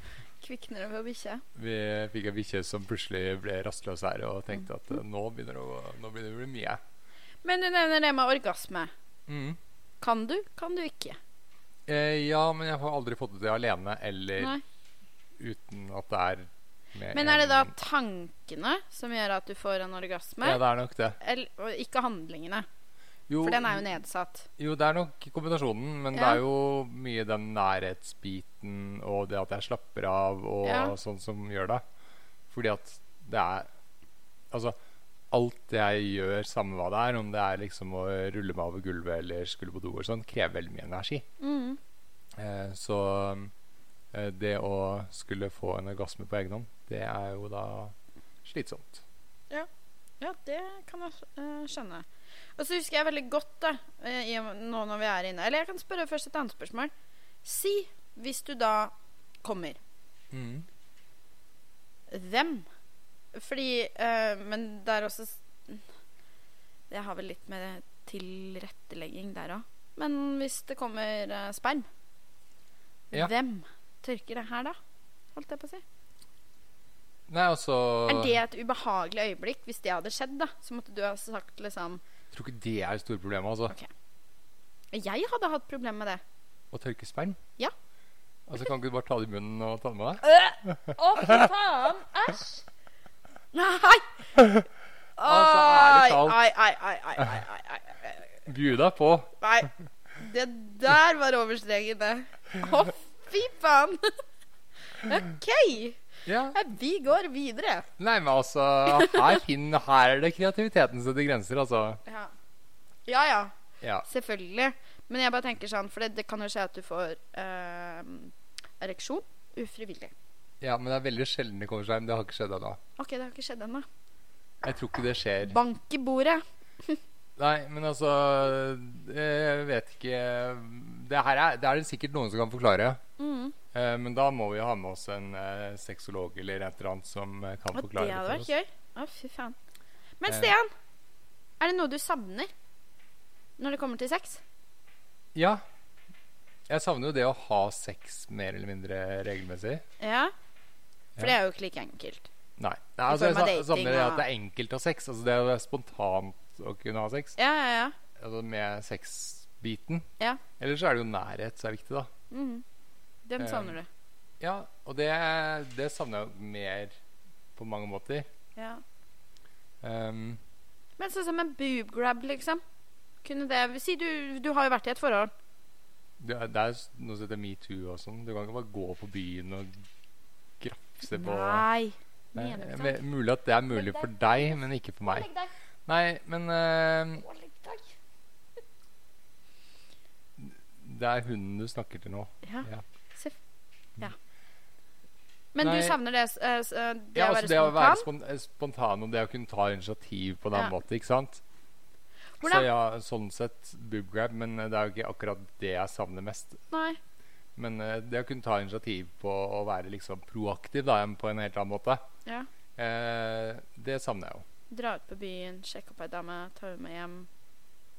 S2: Kvikner over bikkja.
S1: Vi fikk en bikkje som plutselig ble rastløs her og tenkte
S2: Mm.
S1: at eh, nå begynner det å gå- nå begynner det å bli mye.
S2: Men du nevner det med orgasme.
S1: Mm.
S2: Kan du, kan du ikke?
S1: Eh, ja, men jeg har aldri fått det til alene eller
S2: Nei.
S1: uten at det er med
S2: Men er det da
S1: en-
S2: tankene som gjør at du får en orgasme?
S1: eh, Ja, det er nok det.
S2: Eller, og ikke handlingene,
S1: Jo,
S2: for den er jo nedsatt.
S1: jo, det er nok kombinasjonen, men det
S2: Ja.
S1: er jo mye den nærhetsbiten og det at jeg slapper av og
S2: Ja.
S1: sånn som gjør det. Fordi at det er Altså, alt jeg gjør, samme hva det er, om det er liksom å rulle meg over gulvet eller skulle på do og sånn, krever veldig mye energi.
S2: Mm.
S1: Eh, så eh, det å skulle få en orgasme på egen hånd, det er jo da slitsomt.
S2: Ja, det kan jeg eh, skjønne. Og så husker jeg veldig godt, da, eh, i, og- nå når vi er inne Eller jeg kan spørre først et annet spørsmål. Si, hvis du da kommer Hvem? Fordi eh, Men det er også s- Jeg har vel litt med tilrettelegging der òg. Men hvis det kommer eh, sperm,
S1: Ja.
S2: hvem tørker det her da? Holdt jeg på å si.
S1: Nei, altså
S2: Er det et ubehagelig øyeblikk? Hvis det hadde skjedd, da, så måtte du ha sagt liksom
S1: Jeg tror ikke det er det store problemet, altså.
S2: Jeg hadde hatt problemer med det.
S1: Å tørke sperm?
S2: Ja.
S1: Altså, Kan ikke du bare ta det i munnen og ta det med deg?
S2: Å, fy faen! Æsj! Nei!
S1: Altså, ærlig talt.
S2: Ai, ai, ai, ai, ai, ai, ai, ai, ai.
S1: Bjuda deg på.
S2: Nei. Det der var over streken, det. Å, fy faen! OK. eh,
S1: Ja.
S2: Vi går videre.
S1: Nei, men altså Her, finner, her er det kreativiteten som setter grenser, altså.
S2: Ja. ja ja,
S1: Ja.
S2: selvfølgelig. Men jeg bare tenker sånn, for det, det kan jo skje at du får ehm, ereksjon ufrivillig.
S1: ja, men det er veldig sjelden det kommer seg hjem. Det har ikke skjedd ennå.
S2: OK, det har ikke skjedd ennå.
S1: Jeg tror ikke det skjer.
S2: Bank i bordet.
S1: Nei, men altså Jeg vet ikke Det her er det, er det sikkert noen som kan forklare.
S2: Mm.
S1: Eh, men da må vi jo ha med oss en eh, sexolog eller et eller annet som eh, kan
S2: Og det
S1: forklare
S2: hadde
S1: det
S2: vært
S1: for oss.
S2: gøy. Å, fy faen. Men
S1: Eh.
S2: Stian, er det noe du savner når det kommer til sex?
S1: Ja. Jeg savner jo det å ha sex mer eller mindre regelmessig.
S2: Ja.
S1: Ja.
S2: For det er jo ikke like enkelt.
S1: Nei. Nei altså, jeg
S2: form av
S1: sa- savner
S2: dating
S1: det
S2: og-
S1: at det er enkelt å ha sex. Altså, det å være spontant å kunne ha sex
S2: Ja, ja, ja.
S1: altså, med sexbiten.
S2: Ja.
S1: Eller så er det jo nærhet som er viktig, da.
S2: Mhm. Den
S1: Eh.
S2: savner du.
S1: Ja, og det, det savner jeg jo mer på mange måter.
S2: Ja.
S1: Ehm,
S2: Men sånn som en boob grab, liksom. Kunne det Si du, du har jo vært i et forhold.
S1: det, er- det er s- noe som heter metoo og sånn. Du kan ikke bare gå på byen og grafse på
S2: Nei.
S1: Nei,
S2: Mener du
S1: men- Mulig at det er mulig for deg, men ikke for meg. Nei, men ehm, Det er hunden du snakker til nå.
S2: Ja.
S1: Ja. Mm.
S2: Seff. Ja. Men
S1: Nei.
S2: du savner det, s- eh, s- eh, det
S1: Ja,
S2: å
S1: altså
S2: være
S1: det å være
S2: spontan?
S1: spon eh, spontan og det å kunne ta initiativ på en annen
S2: Ja.
S1: måte, ikke sant?
S2: Hvordan-
S1: Så ja, sånn sett boob grab, men eh, det er jo ikke akkurat det jeg savner mest.
S2: Nei.
S1: Men eh, det å kunne ta initiativ på å være liksom proaktiv da, på en helt annen måte,
S2: Ja.
S1: eh, det savner jeg jo.
S2: Dra ut på byen, sjekke opp ei dame, ta henne med hjem.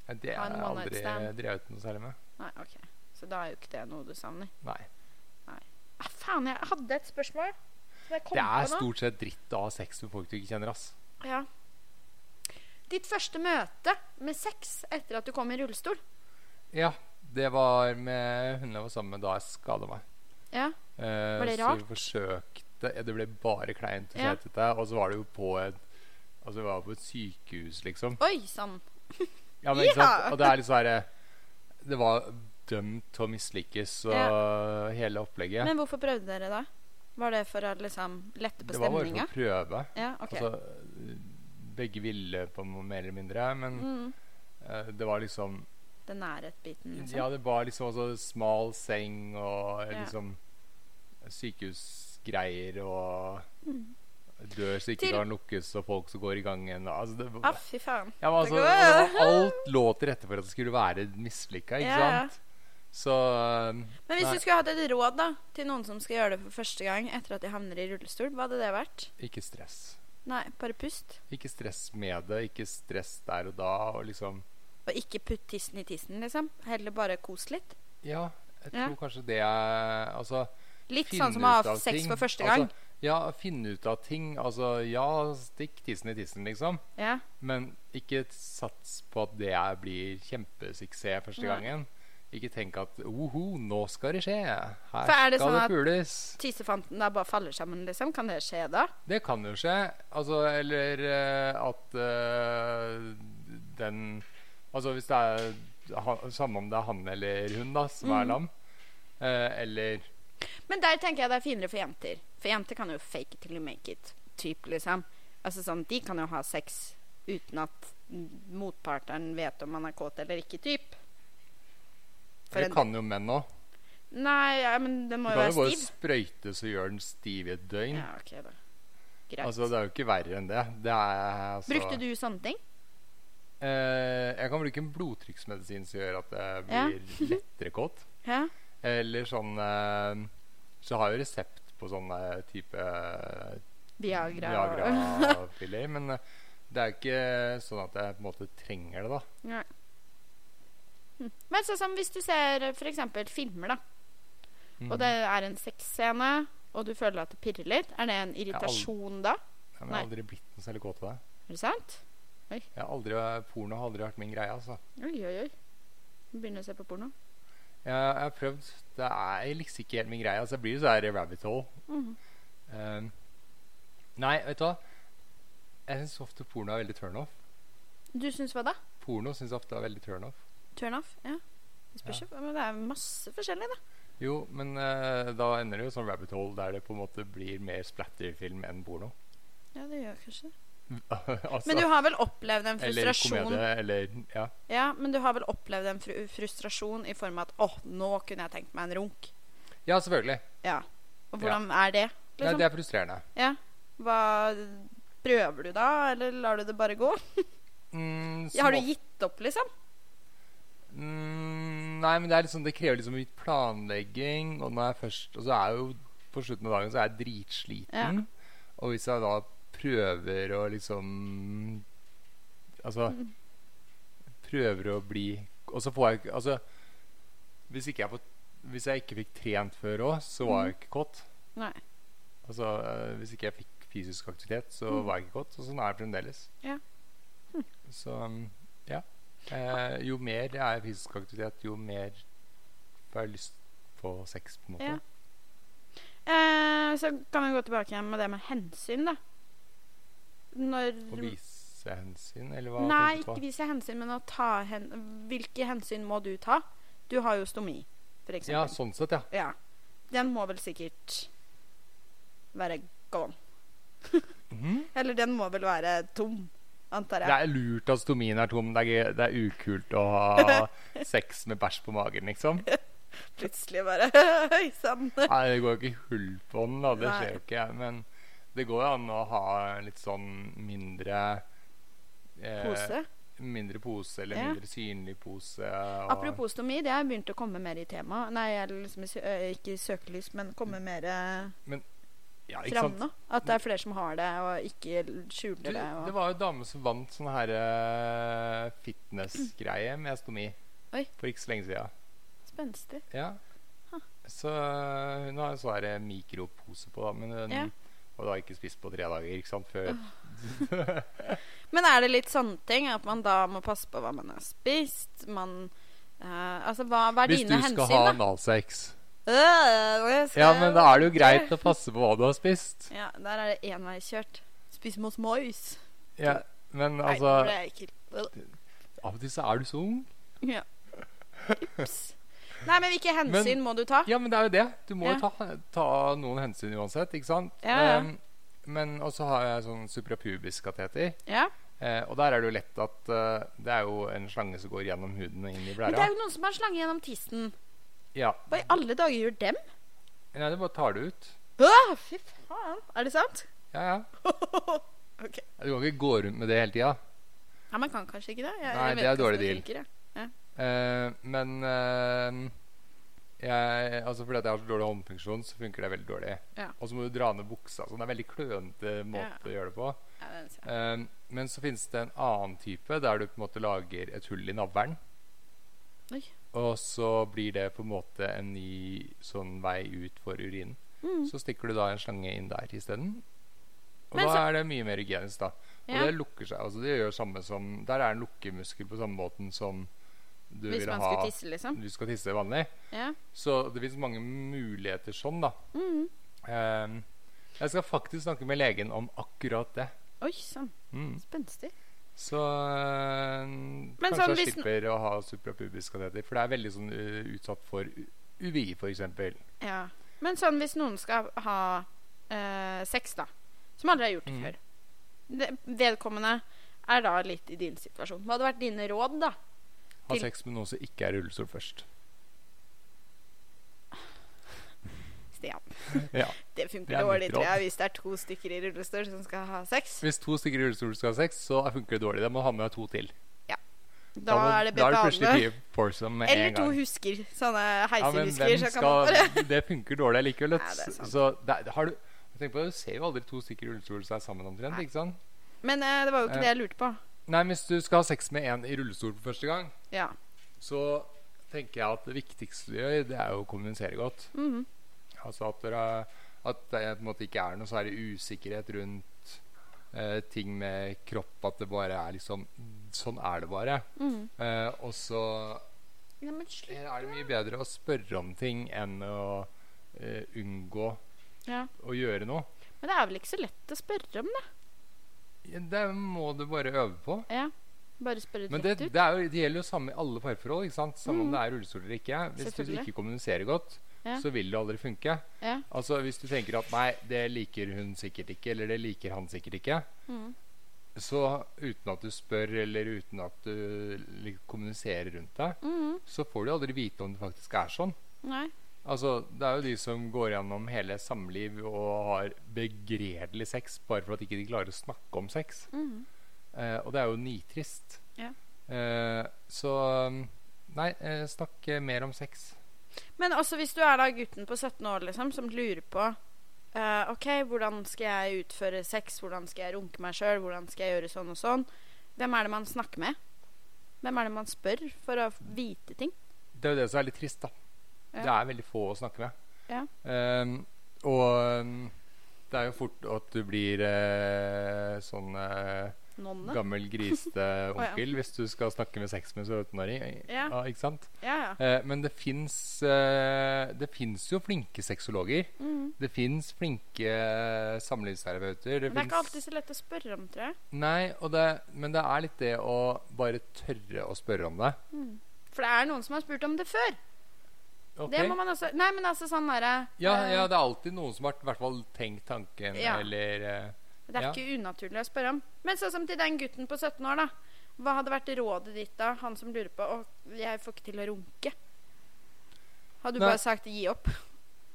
S1: Eh, Det
S2: Ha en
S1: har jeg
S2: one night
S1: aldri
S2: stand.
S1: drevet noe særlig med.
S2: Nei, ok. Så da er jo ikke det noe du savner.
S1: Nei.
S2: Ah, faen, jeg hadde et spørsmål. Som jeg kom
S1: Det er
S2: på nå.
S1: stort sett dritt å ha sex med folk du ikke kjenner, ass.
S2: Ja. Ditt første møte med sex etter at du kom i rullestol.
S1: Ja, det var med hun jeg var sammen med da jeg skada meg.
S2: Ja.
S1: Eh,
S2: Var det
S1: Så vi forsøkte ja, Det ble bare kleint og
S2: Ja.
S1: kjetete. Og så var det jo på et Altså vi var på et sykehus, liksom.
S2: Oi sann.
S1: Ja, men ikke sant?
S2: Ja.
S1: Og det er litt sånn herre Det var dømt til å mislykkes, og hele opplegget.
S2: Men hvorfor prøvde dere da? Var det for å liksom lette på
S1: det var bare for
S2: stemninga?
S1: å prøve.
S2: Ja, ok.
S1: Altså, begge ville på en måte mer eller mindre, men
S2: Mm.
S1: eh, det var liksom
S2: Den nærhetsbiten, liksom.
S1: Ja, det var liksom også smal seng og eh,
S2: Ja.
S1: liksom sykehusgreier og dør som ikke
S2: Mm. Til-
S1: kan lukkes, og folk som går i gangen. og- Altså, det,
S2: Ah, fy faen.
S1: ja, men altså,
S2: det går-
S1: og alt lå til rette for at det skulle være mislykka, ikke
S2: Ja, ja.
S1: sant? Så um,
S2: Men hvis
S1: Nei.
S2: du skulle hatt et råd da til noen som skal gjøre det for første gang etter at de havner i rullestol, hva hadde det vært?
S1: ikke stress.
S2: Nei, bare pust.
S1: Ikke stress med det, ikke stress der og da, og liksom
S2: Og ikke putt tissen i tissen, liksom. Heller bare kos litt.
S1: Ja, jeg
S2: Ja.
S1: tror kanskje det er Altså
S2: Litt
S1: finne
S2: sånn som å ha
S1: ut av
S2: hatt sex
S1: ting.
S2: for første gang.
S1: Altså, ja, finne ut av ting. Altså, ja, stikk tissen i tissen, liksom.
S2: ja.
S1: Men ikke sats på at det er- blir kjempesuksess første
S2: Nei.
S1: gangen. Ikke tenk at Oho, nå skal det skje! Her
S2: For er
S1: skal
S2: det sånn
S1: det
S2: at-
S1: pules!
S2: Tissefanten da bare faller sammen, liksom? Kan det skje da?
S1: Det kan jo skje. Altså, eller eh, at eh, den Altså, hvis det er ha- Samme om det er han eller hun da, som
S2: Mm.
S1: er lam. eh, eller
S2: Men der tenker jeg det er finere for jenter. For jenter kan jo fake it till you make it. Typ, liksom. Altså sånn, De kan jo ha sex uten at mm, motparteren vet om man er kåt eller ikke, typ. For
S1: Det
S2: en-
S1: kan jo menn òg.
S2: Nei, ja, men
S1: Du
S2: den må jo
S1: kan jo
S2: være
S1: bare
S2: stiv.
S1: sprøyte så gjør den stiv i et døgn.
S2: Ja, ok da. Greit.
S1: altså, det er jo ikke verre enn det. det er, altså,
S2: Brukte du sånne ting?
S1: Eh, jeg kan bruke en blodtrykksmedisin som gjør at jeg blir lettere kåt.
S2: Ja.
S1: Eller sånn eh, Så har jeg jo resept på sånne type eh,
S2: Viagra.
S1: Viagra-piller. men eh, det er jo ikke sånn at jeg på en måte trenger det, da.
S2: Men sånn som hvis du ser f.eks. filmer, da.
S1: Mm.
S2: Og det er en sexscene, og du føler at det pirrer litt. Er det en irritasjon da?
S1: Ja, men jeg har aldri blitt noe særlig kåt av det.
S2: Er det sant?
S1: Jeg har aldri, eh, porno har aldri vært min greie, altså.
S2: Oi, oi, oi. Vi Begynner å se på porno.
S1: Jeg, jeg har prøvd. Det er liksom ikke helt min greie. Altså, jeg blir jo så her i rabbit hole.
S2: Mhm.
S1: Eh, nei, vet du hva? Jeg syns ofte porno er veldig turn off.
S2: Du syns hva da?
S1: Porno syns jeg ofte er veldig turn off.
S2: Turn off? Ja. Det spørs jo. Men det er masse forskjellig, da.
S1: Jo, men eh, da ender det jo sånn rabbit hole der det på en måte blir mer splatterfilm enn porno.
S2: Ja, det gjør kanskje det.
S1: altså,
S2: Men du har vel opplevd en
S1: eller
S2: frustrasjon
S1: komedie, eller Ja.
S2: Ja, men du har vel opplevd en fru frustrasjon i form av at åh, nå kunne jeg tenkt meg en runk.
S1: Ja, selvfølgelig.
S2: Ja. Og hvordan er det?
S1: Nei,
S2: Liksom?
S1: det er frustrerende.
S2: Ja. Hva Prøver du da, eller lar du det bare gå?
S1: Mm,
S2: Ja, har du
S1: som of-
S2: gitt opp, liksom?
S1: Mm, nei, men det, er liksom, det krever liksom litt planlegging. Og når jeg først Og så er jeg jo på slutten av dagen så er jeg dritsliten. Og hvis jeg da prøver å liksom Altså Prøver å bli Og så får jeg ikke Altså Hvis ikke jeg, får, hvis jeg ikke fikk trent før òg, så var jeg ikke kåt.
S2: Mm. Nei.
S1: Altså eh, Hvis ikke jeg fikk fysisk aktivitet, så var jeg ikke kåt. Og sånn er det fremdeles.
S2: Mm. Ja. Hm.
S1: Så mm, ja. Eh, jo mer det er fysisk aktivitet, jo mer får jeg lyst på sex, på en måte.
S2: Ja. Eh, så kan vi gå tilbake igjen med det med hensyn, da. Når
S1: Å vise hensyn, eller hva
S2: Nei,
S1: tenker
S2: ikke
S1: du på?
S2: vise hensyn, men å ta hen... Hvilke hensyn må du ta? Du har jo stomi, for
S1: Ja,
S2: eksempel.
S1: sånn sett, ja.
S2: Ja. Den må vel sikkert være gone.
S1: Mhm.
S2: Eller den må vel være tom, antar
S1: Det
S2: jeg.
S1: er lurt at stomien er tom. Det er, gøy- det er ukult å ha sex med bæsj på magen, liksom.
S2: Plutselig bare Oi sann.
S1: Nei, det går jo ikke hull på den, da. Det
S2: Nei.
S1: skjer jo ikke. Men det går jo an å ha litt sånn mindre eh,
S2: Pose.
S1: Mindre pose, eller
S2: Ja.
S1: mindre synlig pose. Og,
S2: Apropos stomi, det har begynt å komme mer i tema. Nei, eller liksom i sø- eh, ikke i søkelys, men komme mer eh,
S1: ja, ikke
S2: fram
S1: sant?
S2: nå. At det er flere som har det, og ikke
S1: Du,
S2: skjuler det.
S1: det
S2: Og...
S1: var jo dame som vant sånn her eh, fitness-greie med stomi
S2: Oi.
S1: for ikke så lenge siden.
S2: Spenstig.
S1: Ja. Så hun har en sånn her mikropose på, da, men hun
S2: Ja.
S1: har da ikke spist på tre dager, ikke sant, før
S2: Men er det litt sånne ting at man da må passe på hva man har spist? Man eh, Altså, hva, hva er
S1: Hvis du
S2: dine
S1: skal
S2: hensyn,
S1: ha
S2: da?
S1: analsex.
S2: Øh, jeg skal-
S1: Ja, men da er det jo greit å passe på hva du har spist.
S2: Ja, der er det enveiskjørt. Spis mos mois.
S1: Ja, men
S2: Nei, det
S1: altså
S2: er ekkelt. Øh.
S1: Av og til så er du så ung.
S2: Ja. Ups. Nei, men hvilke hensyn må du ta?
S1: Ja, men det er jo det. Du må jo
S2: Ja.
S1: ta, ta noen hensyn uansett, ikke sant?
S2: Ja, ja.
S1: Um, men Og så har jeg sånn suprapubisk kateter.
S2: Ja.
S1: Eh, og der er det jo lett at eh, det er jo en slange som går gjennom huden og inn i
S2: Men det
S1: blæra.
S2: er jo noen som har slange gjennom tissen.
S1: Ja.
S2: Hva i alle dager gjør dem?
S1: Nei, du bare tar det ut.
S2: Åh, fy faen. Er det sant?
S1: Ja, ja.
S2: ok.
S1: Du kan ikke gå rundt med det hele tida.
S2: Ja, man kan kanskje ikke det. Jeg,
S1: Nei,
S2: jeg vet
S1: det er
S2: ikke hvordan
S1: dårlig deal.
S2: funker, jeg.
S1: Eh, men eh, jeg, altså fordi at jeg har så dårlig håndfunksjon, så funker det veldig dårlig.
S2: Ja.
S1: Og så må du dra ned buksa. Så det er en veldig klønete måte å gjøre det på.
S2: Ja, det er sant.
S1: Eh, men så finnes det en annen type der du på en måte lager et hull i navlen.
S2: Oi.
S1: Og så blir det på en måte en ny sånn vei ut for urinen.
S2: Mm.
S1: Så stikker du da en slange inn der isteden. Og
S2: Men
S1: da
S2: så-
S1: er det mye mer hygienisk, da. Og
S2: Ja.
S1: det lukker seg. altså det gjør samme som Der er en lukkemuskel på samme måten som du
S2: Hvis
S1: vil
S2: man
S1: ha
S2: skulle tisse, liksom.
S1: Du skal tisse vanlig.
S2: Ja.
S1: Så det fins mange muligheter sånn, da.
S2: Mhm.
S1: Ehm, jeg skal faktisk snakke med legen om akkurat det.
S2: Oi sann,
S1: Mm.
S2: spenstig.
S1: Så øh, kanskje
S2: sånn
S1: jeg
S2: hvis-
S1: slipper å ha suprapubisk kateter. For det er veldig sånn øh, utsatt for u- UVI, f.eks.
S2: Ja. Men sånn hvis noen skal ha eh, sex, da, som aldri har gjort det
S1: Mm.
S2: før det- Vedkommende er da litt i din situasjon. Hva hadde vært dine råd, da?
S1: Ha
S2: Til-
S1: sex med noen som ikke er i rullestol først.
S2: Stian.
S1: Ja.
S2: Det funker
S1: Det er mitt
S2: dårlig, tror
S1: råd.
S2: jeg, hvis det er to stykker i rullestol som skal ha sex.
S1: Hvis to stykker i rullestol skal ha sex, så funker det dårlig. Da må du ha med deg to til.
S2: Da,
S1: må,
S2: er det
S1: da er det
S2: bedre
S1: plutselig mye foursome med
S2: Eller
S1: en
S2: to
S1: gang.
S2: husker. Sånne
S1: Ja, men
S2: heisehusker.
S1: hvem
S2: så kan man bare
S1: skal Det funker dårlig likevel.
S2: Nei, det er sant.
S1: så det, har du Tenk på det, Du ser jo aldri to stykker i rullestol som er sammen omtrent.
S2: Nei.
S1: ikke sant?
S2: Men eh, det var jo ikke
S1: Eh.
S2: det jeg lurte på.
S1: Nei, men Hvis du skal ha sex med en i rullestol for første gang,
S2: Ja.
S1: så tenker jeg at det viktigste du gjør, det er jo å kommunisere godt.
S2: Mhm.
S1: Altså at, dere, at det på en måte ikke er noe særlig usikkerhet rundt eh, ting med kropp. At det bare er liksom Sånn er det bare.
S2: Mhm.
S1: Eh, og så
S2: Ja, men slutt.
S1: er det mye bedre å spørre om ting enn å eh, unngå
S2: Ja.
S1: å gjøre noe.
S2: Men det er vel ikke så lett å spørre om, da?
S1: Ja, Det må du bare øve på.
S2: Ja. Bare spørre
S1: Men
S2: rett
S1: det,
S2: ut.
S1: det, er jo, det gjelder jo samme i alle parforhold. ikke sant? Samme om
S2: Mm.
S1: det er rullestol eller ikke. Hvis du
S2: Selvfølgelig.
S1: ikke kommuniserer godt,
S2: Ja.
S1: så vil det aldri funke.
S2: Ja.
S1: Altså Hvis du tenker at 'nei, det liker hun sikkert ikke', eller 'det liker han sikkert ikke',
S2: Mhm.
S1: så uten at du spør, eller uten at du li- kommuniserer rundt det,
S2: Mhm.
S1: så får du aldri vite om det faktisk er sånn.
S2: Nei.
S1: Altså, Det er jo de som går gjennom hele samliv og har begredelig sex bare for at ikke de klarer å snakke om sex.
S2: Mhm.
S1: Eh, og det er jo nitrist.
S2: Ja.
S1: Eh, så um, Nei, eh, snakk eh, mer om sex.
S2: Men også hvis du er da gutten på 17 år liksom, som lurer på eh, OK, hvordan skal jeg utføre sex? Hvordan skal jeg runke meg sjøl? Hvordan skal jeg gjøre sånn og sånn? Hvem er det man snakker med? Hvem er det man spør for å vite ting?
S1: Det er jo det som er litt trist, da.
S2: Ja.
S1: Det er veldig få å snakke med.
S2: Ja.
S1: Ehm, og um, det er jo fort at du blir eh, sånn eh,
S2: Nonne?
S1: gammel, grisete
S2: ja.
S1: onkel hvis du skal snakke med sex med 17-åring.
S2: Ja.
S1: ikke sant?
S2: Ja, ja.
S1: Eh, men det fins eh, Det fins jo flinke sexologer.
S2: Mhm.
S1: Det fins flinke eh, samlivsterapeuter.
S2: Men det er ikke
S1: finnes-
S2: alltid så lett å spørre om, tror jeg.
S1: Nei, og det, men det er litt det å bare tørre å spørre om det.
S2: For det er noen som har spurt om det før.
S1: Ok?
S2: Det må man også Nei, men altså sånn derre
S1: ja,
S2: eh,
S1: ja, det er alltid noen som har i hvert fall tenkt tanken,
S2: Ja.
S1: eller eh,
S2: Det er
S1: ja.
S2: ikke unaturlig å spørre om. Men sånn som til den gutten på 17 år, da. Hva hadde vært rådet ditt da? Han som lurer på Å, jeg får ikke til å runke. Hadde du
S1: Nei.
S2: bare sagt gi opp?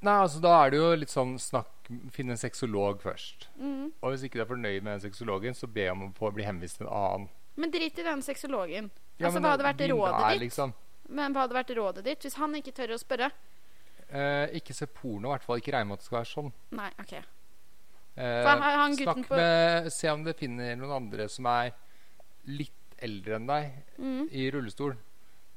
S1: Nei, altså da er det jo litt sånn snakk Finn en sexolog først.
S2: Mhm.
S1: Og hvis ikke du er fornøyd med den sexologen, så be om å få bli henvist til en annen.
S2: Men drit i den sexologen.
S1: Ja,
S2: altså,
S1: men
S2: hva
S1: det-
S2: hadde vært
S1: begynn
S2: rådet
S1: der,
S2: ditt?
S1: Liksom.
S2: Men hva hadde vært rådet ditt hvis han ikke tør å spørre?
S1: Eh, ikke se porno, i hvert fall. Ikke regne med at det skal være sånn.
S2: Nei, OK.
S1: Eh,
S2: For han- han gutten
S1: snakk
S2: på-
S1: med Se om du finner noen andre som er litt eldre enn deg,
S2: Mhm.
S1: i rullestol.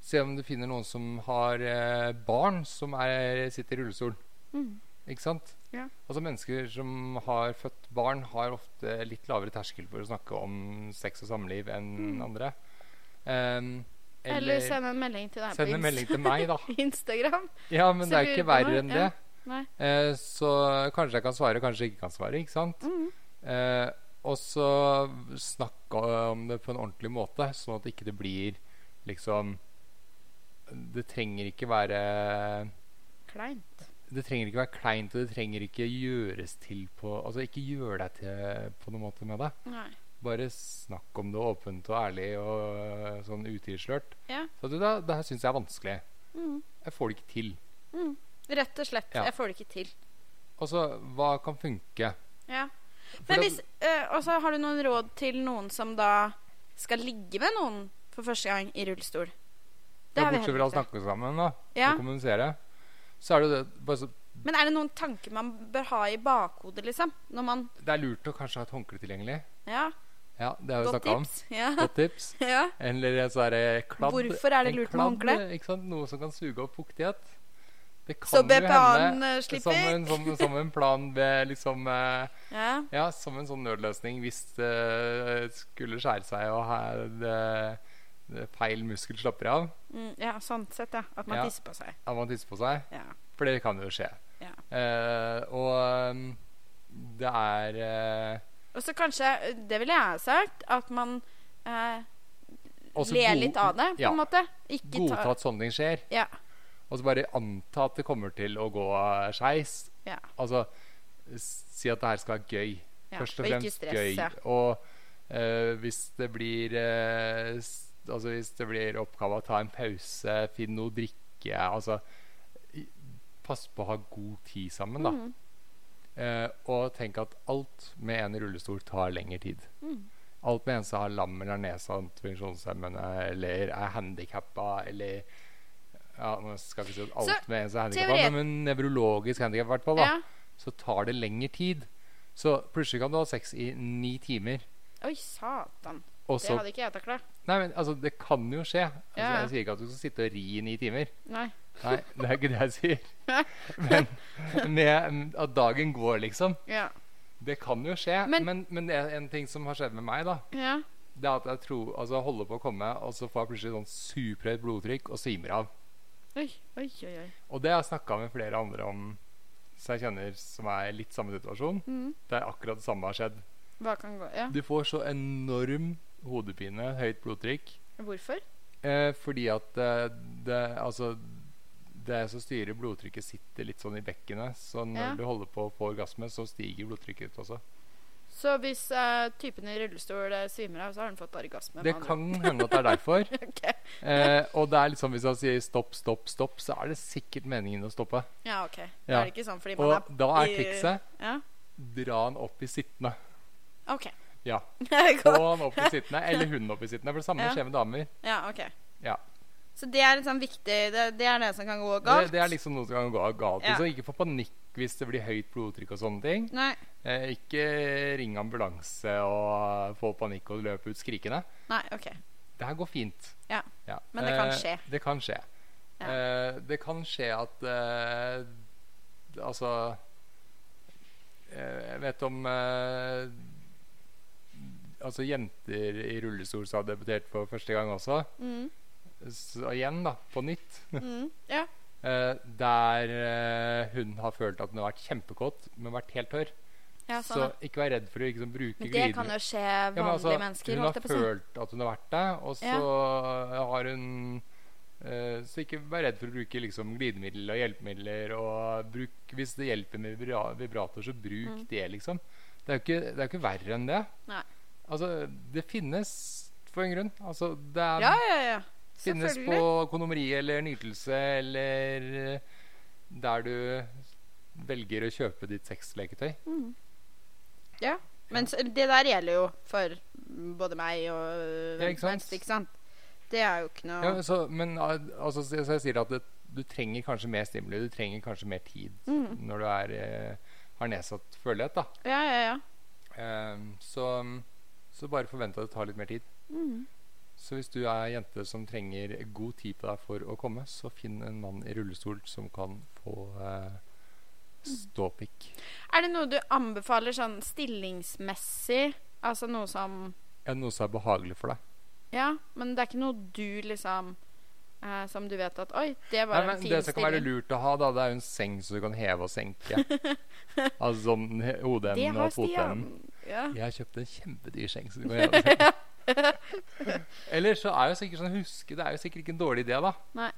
S1: Se om du finner noen som har eh, barn som er, sitter i rullestol.
S2: Mhm.
S1: Ikke sant?
S2: Ja.
S1: Altså Mennesker som har født barn, har ofte litt lavere terskel for å snakke om sex og samliv enn andre. Em,
S2: Mm. Eller send en melding til deg på
S1: send en
S2: Inst-
S1: melding til meg, da.
S2: Instagram.
S1: Ja, men
S2: Så
S1: det er
S2: lurer
S1: ikke
S2: på
S1: verre
S2: noe,
S1: enn
S2: ja.
S1: det.
S2: Nei.
S1: Eh, så kanskje jeg kan svare, kanskje jeg ikke kan svare. Ikke sant?
S2: Mhm.
S1: Eh, og så snakke om det på en ordentlig måte, sånn at ikke det blir liksom Det trenger ikke være
S2: Kleint.
S1: Det trenger ikke være kleint, og det trenger ikke gjøres til på Altså ikke gjøre deg til på noen måte med det.
S2: Nei.
S1: Bare snakk om det åpent og ærlig og eh, sånn utilslørt.
S2: Ja.
S1: Så du, da, det her syns jeg er vanskelig.
S2: Mhm.
S1: Jeg får det ikke til.
S2: Rett og slett.
S1: Ja.
S2: Jeg får det ikke til.
S1: Altså, hva kan funke?
S2: Ja.
S1: For
S2: Men
S1: det-
S2: hvis, eh, og så har du noen råd til noen som da skal ligge med noen for første gang i rullestol?
S1: ja, bortsett fra
S2: heller
S1: å
S2: ikke.
S1: snakke sammen da,
S2: Ja.
S1: og kommunisere, så er det jo det bare så,
S2: Men er det noen tanker man bør ha i bakhodet, liksom? Når man
S1: Det er lurt å kanskje ha et håndkle tilgjengelig.
S2: Ja,
S1: Ja, det har vi
S2: godt
S1: snakka om.
S2: tips. Ja.
S1: Godt tips.
S2: ja.
S1: Eller en sånn her, eh, kladd.
S2: Hvorfor er det
S1: En
S2: lurt med
S1: kladd,
S2: håndkle?
S1: Ikke sant? Noe som kan suge opp fuktighet. Det kan
S2: Så
S1: jo
S2: BPA-en
S1: hende
S2: eh,
S1: Som
S2: slipper?
S1: en, som, som en plan ved liksom eh,
S2: Ja.
S1: Ja, eh, som en sånn nødløsning hvis eh, det skulle skjære seg og her det, eh, feil muskel slapper av
S2: Mm, ja, sant sett, ja. At man
S1: Ja.
S2: tisser på seg.
S1: av å tisse på seg.
S2: Ja.
S1: For det kan jo skje.
S2: Ja.
S1: Eh, og um, det er eh,
S2: Og så kanskje, eh, det ville jeg ha sagt, at man eh,
S1: også
S2: ler
S1: god-
S2: litt av det, på
S1: ja.
S2: en måte. Ikke
S1: godta
S2: ta
S1: at sånne ting skjer.
S2: Ja.
S1: Og så bare anta at det kommer til å gå skeis.
S2: Ja.
S1: Altså s- si at det her skal være gøy.
S2: ja.
S1: Først og
S2: og
S1: fremst
S2: ikke stress,
S1: gøy.
S2: ja.
S1: Og eh, hvis det blir eh, s- Altså hvis det blir oppgave å ta en pause, finn noe å drikke Altså i- pass på å ha god tid sammen, da.
S2: Mm,
S1: Eh, og tenk at alt med en i rullestol tar lengre tid.
S2: Mm.
S1: Alt med en som har lam eller nedsatt funksjonshemmende eller er handikappa eller ja, Nå skal jeg ikke si at alt
S2: Så,
S1: med en som er handikappa,
S2: teoret-
S1: men nevrologisk handikap i hvert fall, da,
S2: ja.
S1: så tar det lengre tid. Så plutselig kan du ha sex i ni timer,
S2: Oi, satan.
S1: og
S2: Det
S1: så
S2: hadde ikke jeg takla.
S1: Nei, men altså, det kan jo skje. Altså,
S2: Ja.
S1: jeg sier ikke at du skal sitte og ri i ni timer.
S2: Nei.
S1: Nei, det er ikke det jeg sier. Men med, at dagen går, liksom.
S2: Ja.
S1: Det kan jo skje, men,
S2: Men-
S1: men, det er en ting som har skjedd med meg, da
S2: ja.
S1: Det er at jeg tror, altså jeg holder på å komme, og så får jeg plutselig sånn superhøyt blodtrykk og svimer av.
S2: Oi, oi, oi. oi.
S1: Og det har jeg snakka med flere andre om som jeg kjenner som er i litt samme situasjon.
S2: Mm.
S1: Der akkurat det samme har skjedd.
S2: Hva kan gå Ja.
S1: Du får så enorm hodepine, høyt blodtrykk,
S2: Hvorfor?
S1: eh, fordi at eh, det Altså det som styrer blodtrykket, sitter litt sånn i bekkenet. Så når
S2: Ja.
S1: du holder på å få orgasme, så stiger blodtrykket ditt også.
S2: Så hvis eh, typen i rullestol eh, svimer av, så har han fått orgasme? med
S1: Det
S2: andre
S1: kan hende at det er derfor.
S2: ord. Ok.
S1: Eh, og det er litt sånn hvis han sier stopp, stopp, stopp, så er det sikkert meningen å stoppe.
S2: Ja, OK. Da
S1: Ja.
S2: er det ikke sånn fordi man
S1: Og da er
S2: i-
S1: trikset
S2: er Ja,
S1: dra han opp i sittende.
S2: OK.
S1: Ja. Få
S2: Godt.
S1: han opp i sittende, eller hun opp i sittende. For det samme
S2: Ja.
S1: skjer med damer.
S2: ja, OK.
S1: Ja.
S2: Så det er en sånn viktig Det, det er det som kan gå
S1: Det,
S2: galt?
S1: det er liksom noe som kan gå galt.
S2: Ja.
S1: Så ikke få panikk hvis det blir høyt blodtrykk og sånne ting.
S2: Nei.
S1: Eh, ikke ring ambulanse og få panikk og løpe ut skrikende.
S2: Nei, OK.
S1: Det her går fint. Eh,
S2: Ja. Men det kan skje.
S1: Det kan skje.
S2: Ja.
S1: Eh, det kan skje at eh, Altså eh, Jeg vet om eh, Altså jenter i rullestol som har debutert for første gang også.
S2: Mm.
S1: Så igjen, da, på nytt.
S2: Mm. Ja.
S1: Eh, der eh, hun har følt at hun har vært kjempekåt, men vært helt tørr.
S2: ja sånn,
S1: så
S2: ja.
S1: ikke vær redd for å liksom, bruke
S2: Men det kan jo skje
S1: Ja,
S2: vanlige
S1: men altså,
S2: mennesker.
S1: Hun
S2: holdt
S1: har
S2: jeg på å si.
S1: følt at hun har vært det, og så har hun eh, Så ikke vær redd for å bruke liksom, glidemiddel og hjelpemidler. Og bruk, hvis det hjelper med vibra vibrator, så bruk
S2: Mm.
S1: det, liksom. Det er jo ikke, det er jo ikke verre enn det.
S2: Nei.
S1: Altså, det finnes for en grunn. Altså, det er,
S2: Ja, ja, ja.
S1: finnes på
S2: Selvfølgelig.
S1: kondomeriet eller nytelse eller eh, der du velger å kjøpe ditt sexleketøy.
S2: Mm. Ja. Men s- det der gjelder jo for både meg og øh,
S1: Ja,
S2: hvem
S1: ikke
S2: som
S1: sant?
S2: helst, ikke sant? Det er jo ikke noe
S1: Ja, men så, men al- altså, så så jeg sier at det, du trenger kanskje mer stimuli, du trenger kanskje mer tid
S2: Mhm.
S1: når du er, eh, har nedsatt følelighet, da.
S2: Ja, ja, ja.
S1: Ehm, så, så bare forvent at det tar litt mer tid.
S2: Mm.
S1: Så hvis du er jente som trenger god tid på deg for å komme, så finn en mann i rullestol som kan få eh, ståpikk.
S2: Er det noe du anbefaler sånn stillingsmessig? Altså noe som
S1: Ja, noe som er behagelig for deg.
S2: Ja, men det er ikke noe du liksom eh, Som du vet at Oi, det
S1: Nei,
S2: var en
S1: men
S2: fin
S1: det som kan være
S2: stilling.
S1: lurt å ha, da, det er jo en seng så du kan heve og senke. altså sånn he-
S2: det
S1: hodeenden
S2: har
S1: og fotenden.
S2: Stian. Ja.
S1: Jeg har kjøpt en kjempedyr seng. Så du må gjøre det. Eller så er jo sikkert sånn huske Det er jo sikkert ikke en dårlig idé, da.
S2: Nei.